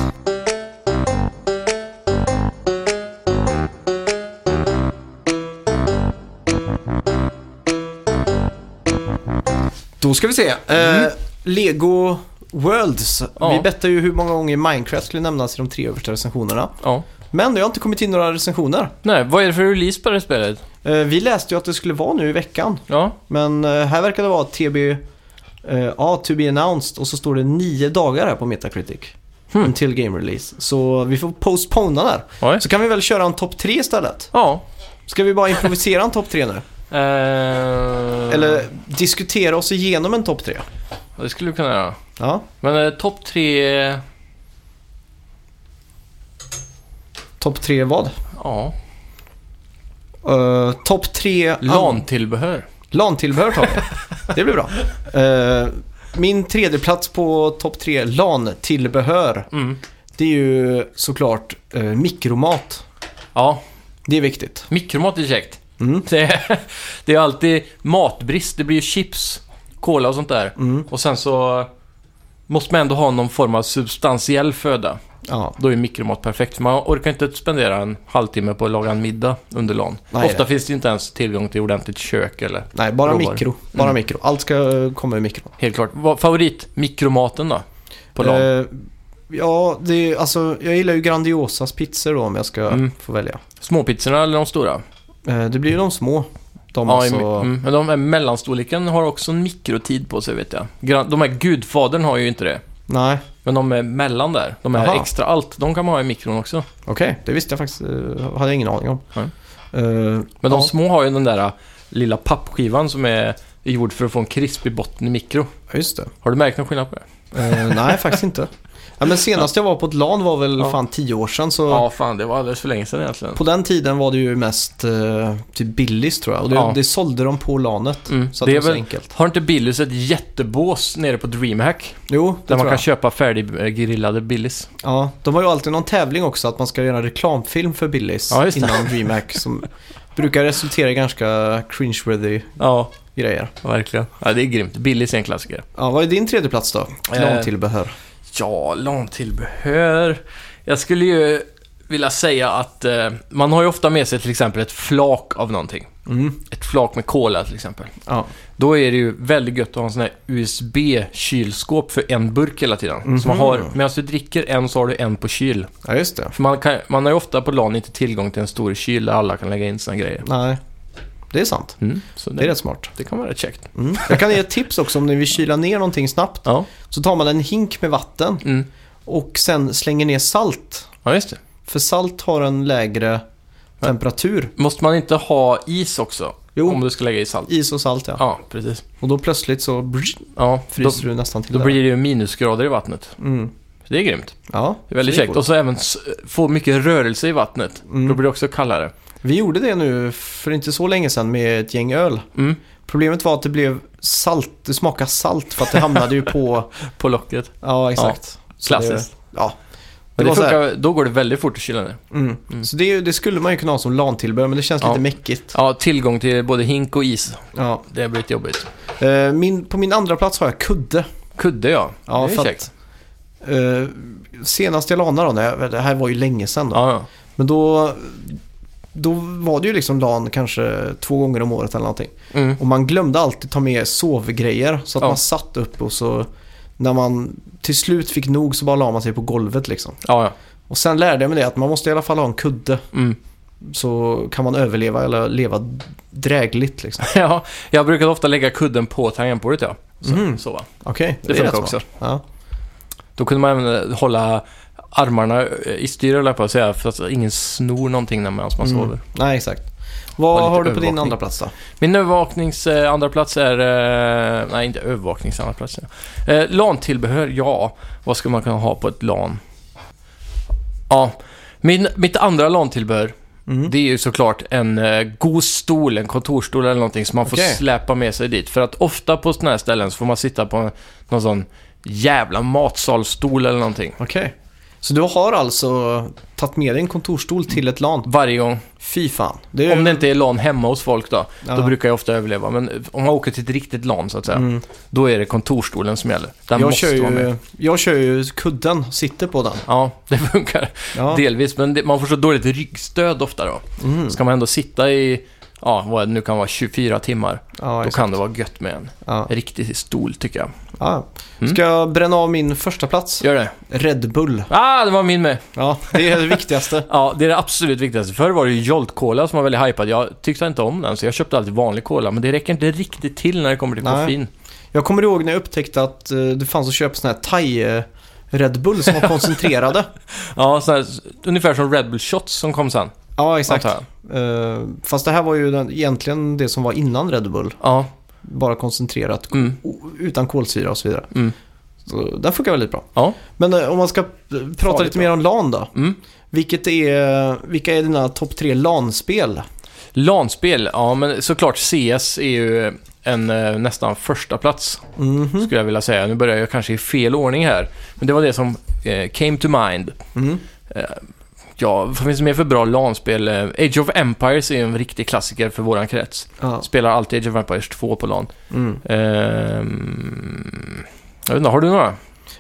[SPEAKER 3] Då ska vi se. Eh, Lego Worlds.
[SPEAKER 2] Ja.
[SPEAKER 3] Vi bettar ju hur många gånger Minecraft skulle nämnas i de tre översta recensionerna.
[SPEAKER 2] Ja.
[SPEAKER 3] Men det har inte kommit in några recensioner.
[SPEAKER 2] Nej, vad är det för release på det här spelet?
[SPEAKER 3] Eh, vi läste ju att det skulle vara nu i veckan.
[SPEAKER 2] Ja,
[SPEAKER 3] Men eh, här verkar det vara TB, eh, ja, to be announced och så står det nio dagar här på Metacritic.
[SPEAKER 2] Hmm.
[SPEAKER 3] Until game release. Så vi får postpona där.
[SPEAKER 2] oj.
[SPEAKER 3] Så kan vi väl köra en topp tre istället.
[SPEAKER 2] Ja.
[SPEAKER 3] Ska vi bara improvisera en topp tre nu?
[SPEAKER 2] Eh,
[SPEAKER 3] Eller diskutera oss igenom en topp tre?
[SPEAKER 2] Det skulle du kunna göra.
[SPEAKER 3] Ja.
[SPEAKER 2] Men eh, topp tre...
[SPEAKER 3] Topp tre vad?
[SPEAKER 2] Ja.
[SPEAKER 3] Uh, topp tre...
[SPEAKER 2] LAN-tillbehör.
[SPEAKER 3] LAN-tillbehör tar vi. Det blir bra. Eh, min tredje plats på topp tre LAN-tillbehör.
[SPEAKER 2] Mm.
[SPEAKER 3] Det är ju såklart eh, mikromat.
[SPEAKER 2] Ja,
[SPEAKER 3] Det är viktigt.
[SPEAKER 2] mikromat är käckt.
[SPEAKER 3] Mm.
[SPEAKER 2] Det, det är [laughs] alltid matbrist. Det blir ju chips, cola och sånt där.
[SPEAKER 3] Mm.
[SPEAKER 2] Och sen så måste man ändå ha någon form av substantiell föda.
[SPEAKER 3] Ja,
[SPEAKER 2] Då är mikromat perfekt. För man orkar inte spendera en halvtimme på att laga en middag under LAN.
[SPEAKER 3] Nej,
[SPEAKER 2] Ofta
[SPEAKER 3] det-
[SPEAKER 2] finns det inte ens tillgång till ordentligt kök eller...
[SPEAKER 3] nej, bara
[SPEAKER 2] Råvaror.
[SPEAKER 3] mikro. Bara
[SPEAKER 2] Mm.
[SPEAKER 3] mikro. Allt ska eh, komma ur mikron.
[SPEAKER 2] Helt klart. Vad- Favorit-mikromaten då? På LAN?
[SPEAKER 3] Eh, ja, det är, alltså, jag gillar ju Grandiosas pizzor då om jag ska
[SPEAKER 2] Mm.
[SPEAKER 3] få välja.
[SPEAKER 2] Småpizzorna eller de stora?
[SPEAKER 3] Eh, det blir ju de små. De
[SPEAKER 2] Ja,
[SPEAKER 3] alltså...
[SPEAKER 2] i- mm, men de här mellanstorleken har också en mikrotid på sig vet jag. Gran- De här Gudfadern har ju inte det.
[SPEAKER 3] Nej,
[SPEAKER 2] Men de är mellan där, de är
[SPEAKER 3] Jaha.
[SPEAKER 2] extra allt, de kan man ha i mikron också.
[SPEAKER 3] Okej, det visste jag faktiskt. eh, hade jag ingen aning om.
[SPEAKER 2] Nej.
[SPEAKER 3] Eh,
[SPEAKER 2] Men de
[SPEAKER 3] Ja.
[SPEAKER 2] små har ju den där äh, lilla pappskivan som är gjord för att få en krispig botten i mikro.
[SPEAKER 3] ja, just det.
[SPEAKER 2] Har du märkt någon skillnad på det?
[SPEAKER 3] Eh, nej, faktiskt inte. Ja, men senast jag var på ett LAN var väl
[SPEAKER 2] Ja.
[SPEAKER 3] fan tio år sedan. Så
[SPEAKER 2] Ja, fan, det var alldeles för länge sedan egentligen.
[SPEAKER 3] På den tiden var det ju mest eh, typ Billys tror jag. Och det,
[SPEAKER 2] Ja.
[SPEAKER 3] det sålde de på LANet.
[SPEAKER 2] Mm.
[SPEAKER 3] Så att
[SPEAKER 2] det
[SPEAKER 3] det
[SPEAKER 2] är
[SPEAKER 3] var så
[SPEAKER 2] väl,
[SPEAKER 3] enkelt.
[SPEAKER 2] har inte Billys ett jättebås nere på DreamHack?
[SPEAKER 3] Jo, det
[SPEAKER 2] Där man
[SPEAKER 3] tror
[SPEAKER 2] kan
[SPEAKER 3] jag.
[SPEAKER 2] köpa färdiggrillade Billys.
[SPEAKER 3] Ja, de har ju alltid någon tävling också att man ska göra en reklamfilm för Billys
[SPEAKER 2] Ja, just det.
[SPEAKER 3] innan DreamHack som brukar resultera i ganska cringeworthy
[SPEAKER 2] Ja,
[SPEAKER 3] grejer.
[SPEAKER 2] verkligen. Ja, det är grymt. Billys är en klassiker.
[SPEAKER 3] Ja, vad är din tredje plats då?
[SPEAKER 2] Eh.
[SPEAKER 3] LAN-tillbehör.
[SPEAKER 2] Ja, lantillbehör. Jag skulle ju vilja säga att eh, man har ju ofta med sig till exempel ett flak av någonting.
[SPEAKER 3] Mm.
[SPEAKER 2] Ett flak med cola till exempel.
[SPEAKER 3] Ja.
[SPEAKER 2] Då är det ju väldigt gött att ha en sån här USB-kylskåp för en burk hela tiden. Så man
[SPEAKER 3] Mhm.
[SPEAKER 2] har, medan du dricker en så har du en på kyl.
[SPEAKER 3] ja, just det.
[SPEAKER 2] För man, kan, man har ju ofta på LAN inte tillgång till en stor kyl där alla kan lägga in sina grejer.
[SPEAKER 3] Nej, det är sant.
[SPEAKER 2] Mm, så det,
[SPEAKER 3] Det är
[SPEAKER 2] det,
[SPEAKER 3] rätt smart.
[SPEAKER 2] kan vara rätt käckt.
[SPEAKER 3] Mm. Jag kan ge ett tips också om ni vill kyla ner någonting snabbt.
[SPEAKER 2] Ja,
[SPEAKER 3] Så tar man en hink med vatten
[SPEAKER 2] mm.
[SPEAKER 3] och sen slänger ner salt.
[SPEAKER 2] ja just det.
[SPEAKER 3] För salt har en lägre temperatur.
[SPEAKER 2] Måste man inte ha is också?
[SPEAKER 3] Jo.
[SPEAKER 2] Om du ska lägga i salt?
[SPEAKER 3] Is och salt ja.
[SPEAKER 2] Ja, precis.
[SPEAKER 3] Och då plötsligt så brr,
[SPEAKER 2] Ja, då,
[SPEAKER 3] fryser du nästan till
[SPEAKER 2] Då
[SPEAKER 3] där.
[SPEAKER 2] blir det ju minusgrader i vattnet.
[SPEAKER 3] Mm.
[SPEAKER 2] Det är grymt.
[SPEAKER 3] Ja,
[SPEAKER 2] Det är väldigt
[SPEAKER 3] så
[SPEAKER 2] käckt. Och så även s- få mycket rörelse i vattnet.
[SPEAKER 3] Mm.
[SPEAKER 2] Då blir det också kallare.
[SPEAKER 3] Vi gjorde det nu för inte så länge sedan med ett gäng öl.
[SPEAKER 2] Mm.
[SPEAKER 3] Problemet var att det blev salt, det smakade salt för att det hamnade ju
[SPEAKER 2] [laughs]
[SPEAKER 3] på,
[SPEAKER 2] På locket.
[SPEAKER 3] ja exakt. Så
[SPEAKER 2] Klassiskt.
[SPEAKER 3] Det, ja.
[SPEAKER 2] Men
[SPEAKER 3] Det
[SPEAKER 2] det
[SPEAKER 3] var så här-
[SPEAKER 2] funkar, då går det väldigt fort att kyla ner.
[SPEAKER 3] Mm. Så det, är ju- det skulle man ju kunna ha som LAN-tillbehör men det känns
[SPEAKER 2] Ja.
[SPEAKER 3] lite mäckigt.
[SPEAKER 2] Ja, tillgång till både hink och is.
[SPEAKER 3] Ja.
[SPEAKER 2] Det blir lite jobbigt.
[SPEAKER 3] Eh, Min, på min andra plats har jag kudde.
[SPEAKER 2] Kudde ja.
[SPEAKER 3] Ja,
[SPEAKER 2] det
[SPEAKER 3] för
[SPEAKER 2] är
[SPEAKER 3] att-
[SPEAKER 2] käckt.
[SPEAKER 3] Eh, Senast jag lanade då, när jag, det här var ju länge sedan då.
[SPEAKER 2] Ja, ja.
[SPEAKER 3] Men då, då var det ju liksom LAN kanske två gånger om året eller någonting.
[SPEAKER 2] Mm.
[SPEAKER 3] Och man glömde alltid ta med sovgrejer så att
[SPEAKER 2] Ja.
[SPEAKER 3] man satt upp och så när man till slut fick nog så bara la man sig på golvet liksom.
[SPEAKER 2] ja, ja.
[SPEAKER 3] Och sen lärde jag mig det att man måste i alla fall ha en kudde
[SPEAKER 2] Mm. [laughs]
[SPEAKER 3] så kan man överleva eller leva drägligt liksom.
[SPEAKER 2] ja. Jag brukar ofta lägga kudden på tangentbordet ja. Så,
[SPEAKER 3] Mhm.
[SPEAKER 2] så va.
[SPEAKER 3] Okej,
[SPEAKER 2] Det,
[SPEAKER 3] är
[SPEAKER 2] funkar
[SPEAKER 3] rätt
[SPEAKER 2] också.
[SPEAKER 3] smart. Ja.
[SPEAKER 2] Då kunde man även eh, hålla armarna eh, i styr höll jag på att säga. För att ingen snor någonting när man man
[SPEAKER 3] Mm.
[SPEAKER 2] sover.
[SPEAKER 3] Nej, exakt.
[SPEAKER 2] Ha
[SPEAKER 3] Vad
[SPEAKER 2] lite
[SPEAKER 3] har du på din
[SPEAKER 2] övervakning.
[SPEAKER 3] andra plats då?
[SPEAKER 2] Min övervaknings eh, andra plats är... Eh, nej, inte övervaknings andra plats. ja. Eh, LAN-tillbehör, ja. Vad ska man kunna ha på ett LAN? Ja, min, mitt andra LAN-tillbehör,
[SPEAKER 3] Mm.
[SPEAKER 2] det är ju såklart en eh, god stol, en kontorsstol eller någonting som man får
[SPEAKER 3] Okej.
[SPEAKER 2] släpa med sig dit. För att ofta på sådana här ställen så får man sitta på en, någon sån jävla matsalsstol eller någonting.
[SPEAKER 3] Okej. Så du har alltså tagit med dig en kontorstol till ett LAN?
[SPEAKER 2] Varje gång.
[SPEAKER 3] Fy fan. Det är
[SPEAKER 2] Om det inte är LAN hemma hos folk då,
[SPEAKER 3] Ja.
[SPEAKER 2] då brukar jag ofta överleva. Men eh, om man åker till ett riktigt LAN så att säga,
[SPEAKER 3] Mm.
[SPEAKER 2] då är det kontorsstolen som gäller. Den
[SPEAKER 3] jag,
[SPEAKER 2] måste
[SPEAKER 3] kör
[SPEAKER 2] vara med.
[SPEAKER 3] ju, jag kör ju kudden, sitter på den.
[SPEAKER 2] Ja, [laughs] det funkar
[SPEAKER 3] Ja.
[SPEAKER 2] delvis. Men det, man får så dåligt ryggstöd ofta då.
[SPEAKER 3] Mm.
[SPEAKER 2] Ska man ändå sitta i, ja, vad det nu kan vara, 24 timmar.
[SPEAKER 3] Ja,
[SPEAKER 2] Då
[SPEAKER 3] exakt.
[SPEAKER 2] kan det vara gött med en
[SPEAKER 3] Ja.
[SPEAKER 2] riktig stol tycker jag.
[SPEAKER 3] Ja.
[SPEAKER 2] Mm.
[SPEAKER 3] Ska jag bränna av min första plats?
[SPEAKER 2] Gör det.
[SPEAKER 3] Red Bull.
[SPEAKER 2] Ah, det var min med.
[SPEAKER 3] Ja, det är det viktigaste.
[SPEAKER 2] Ja, det är det absolut viktigaste. Förr var det ju Jolt Cola som var väldigt hypad. Jag tyckte inte om den, så jag köpte alltid vanlig Cola. Men det räcker inte riktigt till när det kommer till
[SPEAKER 3] Nej.
[SPEAKER 2] koffein.
[SPEAKER 3] [laughs] Jag kommer ihåg när jag upptäckte att eh, det fanns att köpa såna här thai eh, Red Bull som var koncentrerade.
[SPEAKER 2] Ja, sån här, ungefär som Red Bull Shots som kom sen.
[SPEAKER 3] [laughs] ja, exakt.
[SPEAKER 2] antar jag.
[SPEAKER 3] Eh, fast det här var ju den, egentligen det som var innan Red Bull.
[SPEAKER 2] Ja,
[SPEAKER 3] Bara koncentrerat,
[SPEAKER 2] mm,
[SPEAKER 3] o- utan kolsyra och så vidare.
[SPEAKER 2] mm.
[SPEAKER 3] Så den funkar väldigt bra.
[SPEAKER 2] Ja.
[SPEAKER 3] Men eh, om man ska eh, prata
[SPEAKER 2] Farligt
[SPEAKER 3] lite mer om LAN då.
[SPEAKER 2] Mm.
[SPEAKER 3] Vilket är, vilka är dina topp tre LAN-spel?
[SPEAKER 2] LAN-spel, ja men såklart CS är ju en eh, nästan första plats
[SPEAKER 3] Mhm.
[SPEAKER 2] skulle jag vilja säga. Nu börjar jag kanske i fel ordning här. Men det var det som eh, came to mind.
[SPEAKER 3] Mm.
[SPEAKER 2] Ja, vad finns det mer för bra LAN-spel? Eh, Age of Empires är ju en riktig klassiker för våran krets.
[SPEAKER 3] Ja.
[SPEAKER 2] Spelar alltid Age of Empires 2 på LAN.
[SPEAKER 3] Mm.
[SPEAKER 2] Ehm, jag vet inte, har du några?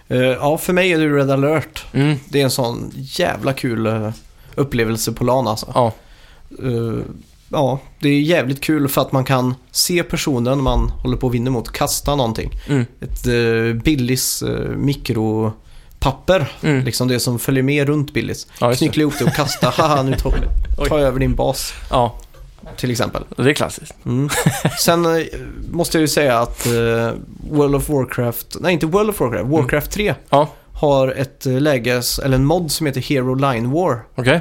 [SPEAKER 3] Eh, ja, för mig är det Red Alert.
[SPEAKER 2] Mm,
[SPEAKER 3] Det är en sån jävla kul eh, upplevelse på LAN alltså.
[SPEAKER 2] ja.
[SPEAKER 3] Eh, ja, det är jävligt kul för att man kan se personen man håller på att vinna mot kasta någonting.
[SPEAKER 2] Mm,
[SPEAKER 3] Ett uh, Billys eh, mikropapper,
[SPEAKER 2] mm.
[SPEAKER 3] liksom det som följer med runt Billys.
[SPEAKER 2] Ja, just det.
[SPEAKER 3] Knyckla ihop det och
[SPEAKER 2] [laughs]
[SPEAKER 3] kasta, haha nu tar
[SPEAKER 2] Oj.
[SPEAKER 3] tar jag över din bas
[SPEAKER 2] ja,
[SPEAKER 3] till exempel.
[SPEAKER 2] det är klassiskt.
[SPEAKER 3] Mm. Sen eh, måste jag ju säga att eh, World of Warcraft, nej inte World of Warcraft, Warcraft 3
[SPEAKER 2] Mm. Ja.
[SPEAKER 3] har ett eh, läge, s- eller en mod som heter Hero Line War.
[SPEAKER 2] Okej.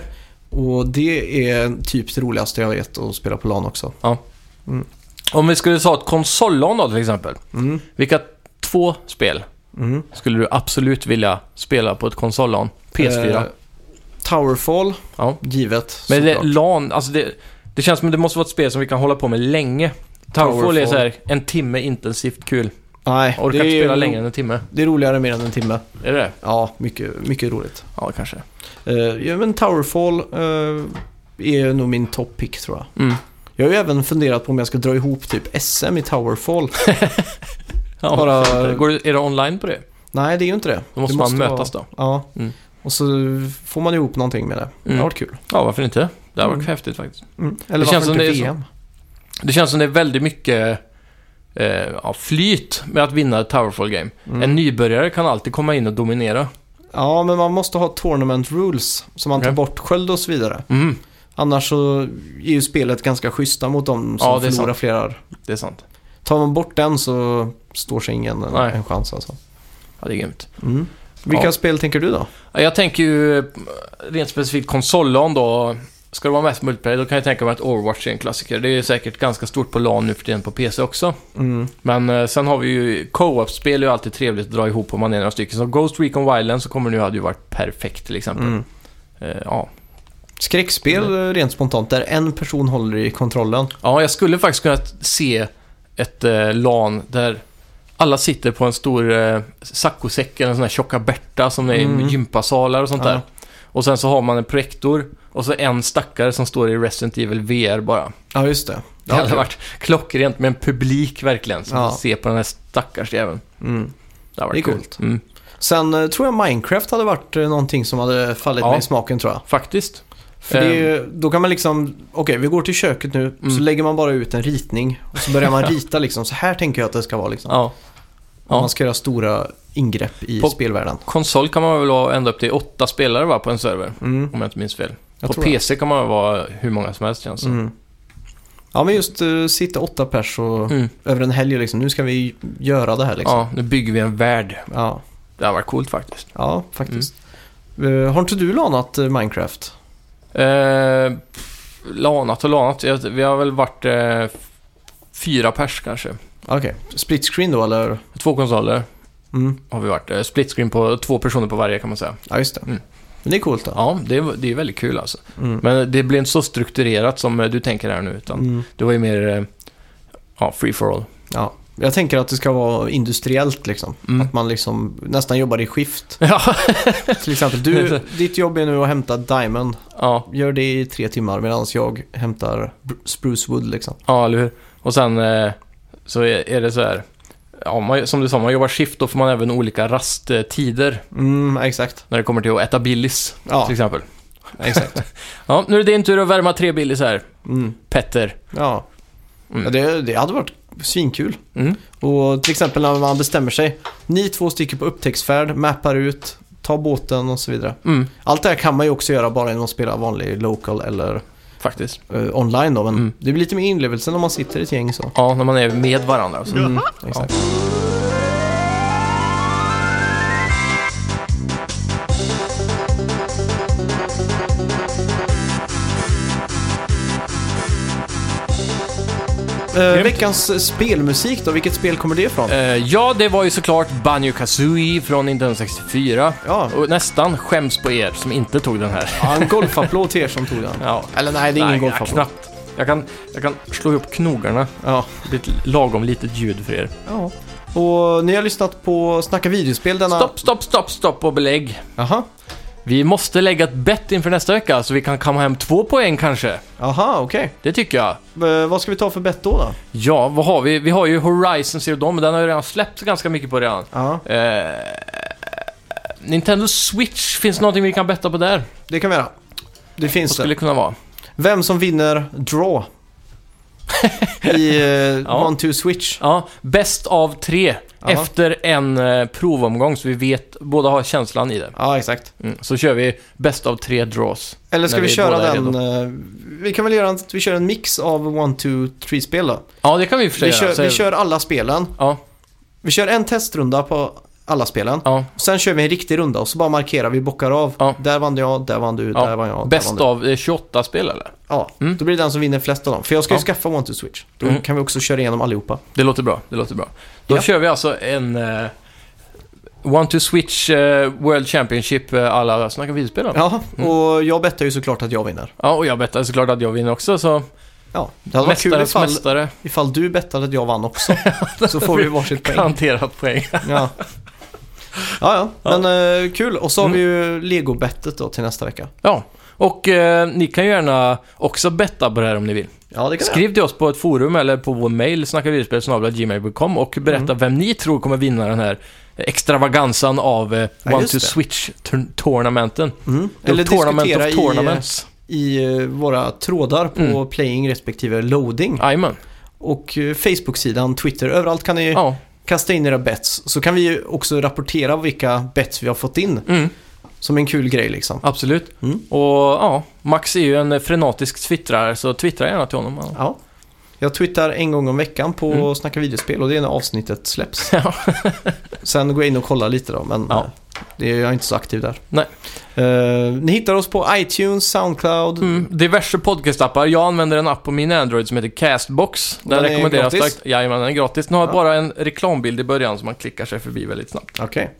[SPEAKER 3] Och det är typ det roligaste jag vet att spela på LAN också.
[SPEAKER 2] Om vi skulle ta ett konsollån då till exempel.
[SPEAKER 3] Mm.
[SPEAKER 2] Vilka två spel
[SPEAKER 3] Mm.
[SPEAKER 2] skulle du absolut vilja spela på ett konsollån? PS4.
[SPEAKER 3] Eh, Towerfall,
[SPEAKER 2] ja.
[SPEAKER 3] givet.
[SPEAKER 2] Men det,
[SPEAKER 3] såklart.
[SPEAKER 2] LAN, alltså det, det känns som det måste vara ett spel som vi kan hålla på med länge. Towerfall är
[SPEAKER 3] Towerfall.
[SPEAKER 2] så här en timme intensivt kul.
[SPEAKER 3] Nej,
[SPEAKER 2] Orkar
[SPEAKER 3] det
[SPEAKER 2] inte
[SPEAKER 3] är-
[SPEAKER 2] spela längre än en timme.
[SPEAKER 3] Det är roligare mer än en timme.
[SPEAKER 2] Är det det
[SPEAKER 3] Ja, mycket, mycket roligt.
[SPEAKER 2] Ja, kanske.
[SPEAKER 3] Eh, ja, men Towerfall eh, är nog min top pick tror jag.
[SPEAKER 2] Mm.
[SPEAKER 3] Jag har ju även funderat på om jag ska dra ihop typ SM i Towerfall.
[SPEAKER 2] Ja,
[SPEAKER 3] Bara-
[SPEAKER 2] Bara... Går, det- är det online på det?
[SPEAKER 3] Nej, det är ju inte det.
[SPEAKER 2] Då måste,
[SPEAKER 3] det
[SPEAKER 2] man
[SPEAKER 3] vara-
[SPEAKER 2] mötas då.
[SPEAKER 3] Ja.
[SPEAKER 2] Mm.
[SPEAKER 3] Och så får man ihop någonting med det. Det
[SPEAKER 2] Mm.
[SPEAKER 3] har varit kul.
[SPEAKER 2] Ja, varför inte? Det har varit
[SPEAKER 3] Mm.
[SPEAKER 2] häftigt faktiskt.
[SPEAKER 3] Mm. Eller
[SPEAKER 2] Det känns
[SPEAKER 3] varför
[SPEAKER 2] som
[SPEAKER 3] inte
[SPEAKER 2] det är så.
[SPEAKER 3] VM?
[SPEAKER 2] Det känns som det är väldigt mycket eh, ja, flyt med att vinna ett Towerfall Game.
[SPEAKER 3] Mm.
[SPEAKER 2] En nybörjare kan alltid komma in och dominera.
[SPEAKER 3] Ja, men man måste ha tournament rules. Så man tar
[SPEAKER 2] Okej.
[SPEAKER 3] bort sköld och så vidare.
[SPEAKER 2] Mm,
[SPEAKER 3] Annars så är ju spelet ganska schyssta mot dem som
[SPEAKER 2] Ja, det är
[SPEAKER 3] förlorar flera.
[SPEAKER 2] det är sant.
[SPEAKER 3] Tar man bort den så står sig ingen en,
[SPEAKER 2] Nej.
[SPEAKER 3] en chans alltså.
[SPEAKER 2] Ja, det är grymt.
[SPEAKER 3] Mm. Vilka
[SPEAKER 2] Ja.
[SPEAKER 3] spel tänker du då?
[SPEAKER 2] Ja, Jag tänker ju eh, rent specifikt konsollan då. Ska det vara mest multiplayer, då kan jag tänka mig att Overwatch är en klassiker. Det är ju säkert ganska stort på LAN nu för tiden på PC också.
[SPEAKER 3] Mm.
[SPEAKER 2] Men eh, sen har vi ju co-op-spel är ju alltid trevligt att dra ihop om man är några stycken. Så Ghost Recon Wildlands så kommer nu hade ju varit perfekt till exempel.
[SPEAKER 3] Mm.
[SPEAKER 2] Eh, ja.
[SPEAKER 3] Skräckspel eh, rent spontant där en person håller i kontrollen.
[SPEAKER 2] ja, jag skulle faktiskt kunna se ett eh, LAN där alla sitter på en stor eh, saccosäck eller en sån här tjocka Berta som är
[SPEAKER 3] Mm.
[SPEAKER 2] i gympasalar och sånt
[SPEAKER 3] Ja.
[SPEAKER 2] där. Och sen så har man en projektor och så en stackare som står i Resident Evil VR bara.
[SPEAKER 3] Ja, just det.
[SPEAKER 2] Det hade varit klockrent med en publik verkligen som
[SPEAKER 3] Ja.
[SPEAKER 2] ser på den här stackars jäveln.
[SPEAKER 3] Mm.
[SPEAKER 2] Det, hade varit
[SPEAKER 3] Det är
[SPEAKER 2] kul.
[SPEAKER 3] coolt.
[SPEAKER 2] Mm.
[SPEAKER 3] Sen eh, tror jag Minecraft hade varit eh, någonting som hade fallit
[SPEAKER 2] Ja.
[SPEAKER 3] mig i smaken tror jag.
[SPEAKER 2] Faktiskt.
[SPEAKER 3] För det är, ju- då kan man liksom, okej vi går till köket nu, så
[SPEAKER 2] Ehm. Mm.
[SPEAKER 3] lägger man bara ut en ritning och så börjar
[SPEAKER 2] [laughs]
[SPEAKER 3] man rita liksom, så här tänker jag att det ska vara liksom.
[SPEAKER 2] Ja.
[SPEAKER 3] Om
[SPEAKER 2] ja.
[SPEAKER 3] man ska göra stora ingrepp i
[SPEAKER 2] På-
[SPEAKER 3] spelvärlden.
[SPEAKER 2] Konsol kan man väl ha ända upp till åtta spelare va, på en server,
[SPEAKER 3] Mm.
[SPEAKER 2] om jag inte minns fel.
[SPEAKER 3] Jag
[SPEAKER 2] på alltså.
[SPEAKER 3] tror det.
[SPEAKER 2] PC kan man väl vara hur många som helst känns det
[SPEAKER 3] Mm. Ja men just eh, sitta åtta pers och
[SPEAKER 2] mm.
[SPEAKER 3] över en helg liksom, nu ska vi göra det här liksom.
[SPEAKER 2] Ja, nu bygger vi en värld.
[SPEAKER 3] Ja,
[SPEAKER 2] Det har varit coolt faktiskt.
[SPEAKER 3] ja faktiskt.
[SPEAKER 2] Mm.
[SPEAKER 3] Eh, har inte du lanat eh, Minecraft?
[SPEAKER 2] Eh, pff, lanat och lanat. Jag- Vi har väl varit eh, f- fyra pers kanske.
[SPEAKER 3] Okej, split screen då eller?
[SPEAKER 2] Två konsoler
[SPEAKER 3] Mm.
[SPEAKER 2] har vi varit. Eh, Split screen på två personer på varje kan man säga.
[SPEAKER 3] Ja just det.
[SPEAKER 2] Mm.
[SPEAKER 3] Men det är coolt då.
[SPEAKER 2] Ja, det är, det är väldigt kul alltså.
[SPEAKER 3] Mm.
[SPEAKER 2] Men det blir inte så strukturerat som eh, du tänker här nu, utan
[SPEAKER 3] Mm.
[SPEAKER 2] det var ju mer eh, ja, free for all.
[SPEAKER 3] Ja. Jag tänker att det ska vara industriellt liksom.
[SPEAKER 2] Mm.
[SPEAKER 3] Att man liksom nästan jobbar i
[SPEAKER 2] [laughs]
[SPEAKER 3] skift.
[SPEAKER 2] Ja,
[SPEAKER 3] Till exempel, du, ditt jobb är nu att hämta Diamond.
[SPEAKER 2] ja.
[SPEAKER 3] Gör det i tre timmar medan jag hämtar Br- Spruce Wood liksom.
[SPEAKER 2] Ja, eller hur? Och sen eh, så är, är det så här. Ja, man, som du sa, man jobbar skift, då får man även olika rasttider
[SPEAKER 3] Mm, exakt.
[SPEAKER 2] när det kommer till att äta billis,
[SPEAKER 3] Ja,
[SPEAKER 2] till exempel.
[SPEAKER 3] exakt.
[SPEAKER 2] [laughs] Ja, nu är det din tur att värma tre billis här,
[SPEAKER 3] Mm.
[SPEAKER 2] Petter.
[SPEAKER 3] Ja,
[SPEAKER 2] Mm.
[SPEAKER 3] ja det, det hade varit svinkul.
[SPEAKER 2] Mm.
[SPEAKER 3] Och till exempel när man bestämmer sig. Ni två sticker på upptäcktsfärd, mappar ut, tar båten och så vidare.
[SPEAKER 2] Mm,
[SPEAKER 3] Allt det här kan man ju också göra bara genom att spela vanlig local eller
[SPEAKER 2] faktiskt.
[SPEAKER 3] eh, online då. Men
[SPEAKER 2] Mm.
[SPEAKER 3] det blir lite mer inlevelse när man sitter i ett gäng så.
[SPEAKER 2] Ja, när man är med varandra. alltså. och Så.
[SPEAKER 3] Mm, exakt. Eh,
[SPEAKER 2] Grymt.
[SPEAKER 3] veckans spelmusik då, vilket spel kommer det ifrån?
[SPEAKER 2] Eh, ja, det var ju såklart Banjo Kazooie från Nintendo 64.
[SPEAKER 3] Ja,
[SPEAKER 2] Och nästan skäms på er som inte tog den här.
[SPEAKER 3] ja, en golfapplåd till er som tog den.
[SPEAKER 2] Ja,
[SPEAKER 3] Eller nej, det är ingen
[SPEAKER 2] nej,
[SPEAKER 3] golfapplåd.
[SPEAKER 2] knappt. Jag kan, jag kan slå ihop knogarna.
[SPEAKER 3] Ja.
[SPEAKER 2] Det blir ett lagom litet ljud för er.
[SPEAKER 3] ja. Och ni har lyssnat på Snacka videospel denna...
[SPEAKER 2] Stopp, stopp, stopp, stopp och belägg.
[SPEAKER 3] Aha.
[SPEAKER 2] Vi måste lägga ett bett inför nästa vecka så vi kan kamma hem två poäng kanske.
[SPEAKER 3] Aha, okej.
[SPEAKER 2] Det tycker jag.
[SPEAKER 3] Eh, vad ska vi ta för bett då? då?
[SPEAKER 2] Ja, vad har vi? Vi har ju Horizon Zero Dawn, men den har ju redan släppts ganska mycket på redan.
[SPEAKER 3] Ja.
[SPEAKER 2] Eh, Nintendo Switch, finns det någonting vi kan betta på där? Vad
[SPEAKER 3] Det kan vi göra. Det finns
[SPEAKER 2] skulle
[SPEAKER 3] det.
[SPEAKER 2] det kunna vara?
[SPEAKER 3] Vem som vinner draw i
[SPEAKER 2] [laughs]
[SPEAKER 3] eh, One Two Switch.
[SPEAKER 2] Ja, bäst av tre.
[SPEAKER 3] Jaha.
[SPEAKER 2] Efter en eh, provomgång så vi vet, båda har känslan i det.
[SPEAKER 3] Ja, exakt.
[SPEAKER 2] Mm. Så kör vi bäst av tre draws.
[SPEAKER 3] Eller ska
[SPEAKER 2] När
[SPEAKER 3] vi,
[SPEAKER 2] vi
[SPEAKER 3] köra
[SPEAKER 2] båda är
[SPEAKER 3] den... eh, vi kan väl göra att vi kör en mix av One Two Three spel då.
[SPEAKER 2] Ja, det kan vi i och för sig
[SPEAKER 3] Vi
[SPEAKER 2] göra.
[SPEAKER 3] kör,
[SPEAKER 2] Så-
[SPEAKER 3] vi kör alla spelen.
[SPEAKER 2] Ja,
[SPEAKER 3] Vi kör en testrunda på alla spelen.
[SPEAKER 2] Ja.
[SPEAKER 3] Sen kör vi en riktig runda och så bara markerar vi, bockar av.
[SPEAKER 2] Ja.
[SPEAKER 3] Där vann jag, där vann du,
[SPEAKER 2] Ja.
[SPEAKER 3] där vann jag. där vann
[SPEAKER 2] Bäst
[SPEAKER 3] du.
[SPEAKER 2] av eh, 28 spel eller?
[SPEAKER 3] Ja,
[SPEAKER 2] Mm.
[SPEAKER 3] då blir det den som vinner flest av dem. För jag ska ju
[SPEAKER 2] Ja.
[SPEAKER 3] skaffa One to Switch. Då
[SPEAKER 2] Mm.
[SPEAKER 3] kan vi också köra igenom allihopa.
[SPEAKER 2] Det låter bra, det låter bra. Då
[SPEAKER 3] Ja.
[SPEAKER 2] kör vi alltså en eh, One to Switch eh, World Championship eh, alla snacka videospel då. ja. Mm.
[SPEAKER 3] Ja, och jag bettar ju såklart att jag vinner.
[SPEAKER 2] och jag bettar såklart att jag vinner också så
[SPEAKER 3] Ja, det hade varit kul
[SPEAKER 2] mästarens
[SPEAKER 3] ifall, [laughs]
[SPEAKER 2] mästare
[SPEAKER 3] ifall du bettade att jag vann
[SPEAKER 2] [laughs]
[SPEAKER 3] också. så får vi varsitt poäng.
[SPEAKER 2] garanterat poäng.
[SPEAKER 3] Ja. Ja, ja, men eh, kul. Och så har
[SPEAKER 2] Mm.
[SPEAKER 3] vi ju Lego-bettet då till nästa vecka.
[SPEAKER 2] Ja, och eh, ni kan ju gärna också betta på det här om ni vill.
[SPEAKER 3] Ja, det kan
[SPEAKER 2] Skriv till oss på ett forum eller på vår mail snackavideospel.gmail.com och
[SPEAKER 3] Mm.
[SPEAKER 2] berätta vem ni tror kommer vinna den här extravagansan av eh,
[SPEAKER 3] Ja,
[SPEAKER 2] One
[SPEAKER 3] just
[SPEAKER 2] to
[SPEAKER 3] det.
[SPEAKER 2] Switch-tournamenten.
[SPEAKER 3] jag. Mm. Eller diskutera
[SPEAKER 2] of
[SPEAKER 3] i,
[SPEAKER 2] Tournaments.
[SPEAKER 3] i eh, våra trådar på
[SPEAKER 2] Mm.
[SPEAKER 3] playing respektive loading. [laughs]
[SPEAKER 2] Jajamän.
[SPEAKER 3] Och eh, Facebook-sidan, Twitter, överallt kan ni
[SPEAKER 2] Ja.
[SPEAKER 3] kasta in era bets. Så kan vi ju också rapportera vilka bets vi har fått in.
[SPEAKER 2] Mm.
[SPEAKER 3] Som en kul grej liksom.
[SPEAKER 2] Absolut.
[SPEAKER 3] Mm.
[SPEAKER 2] Och ja, Max är ju en frenatisk twittrare, så twittra gärna till honom. Ja.
[SPEAKER 3] Ja. Jag twittrar en gång om veckan på
[SPEAKER 2] Mm.
[SPEAKER 3] Snacka videospel och det är när avsnittet släpps.
[SPEAKER 2] [laughs] Ja.
[SPEAKER 3] Sen går jag in och kollar lite då, men
[SPEAKER 2] Ja.
[SPEAKER 3] eh, det är jag är inte så aktiv där.
[SPEAKER 2] Nej.
[SPEAKER 3] Eh, ni hittar oss på iTunes, Soundcloud.
[SPEAKER 2] Mm. Diverse podcastappar. Jag använder en app på min Android som heter Castbox. Den,
[SPEAKER 3] Den är
[SPEAKER 2] rekommenderas
[SPEAKER 3] gratis?
[SPEAKER 2] starkt. Jajamän, den är gratis. Den har
[SPEAKER 3] Ja.
[SPEAKER 2] bara en reklambild i början som man klickar sig förbi väldigt snabbt.
[SPEAKER 3] Okej.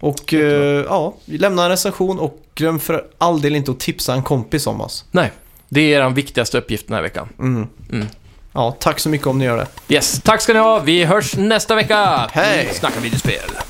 [SPEAKER 3] Och eh, ja, vi lämnar en recension och glöm för all del inte att tipsa en kompis om oss.
[SPEAKER 2] Nej, det är den viktigaste uppgift den här veckan.
[SPEAKER 3] Mm.
[SPEAKER 2] Mm.
[SPEAKER 3] Ja, tack så mycket om ni gör det.
[SPEAKER 2] Yes, tack ska ni ha. Vi hörs nästa vecka.
[SPEAKER 3] Hej.
[SPEAKER 2] Snacka videospel.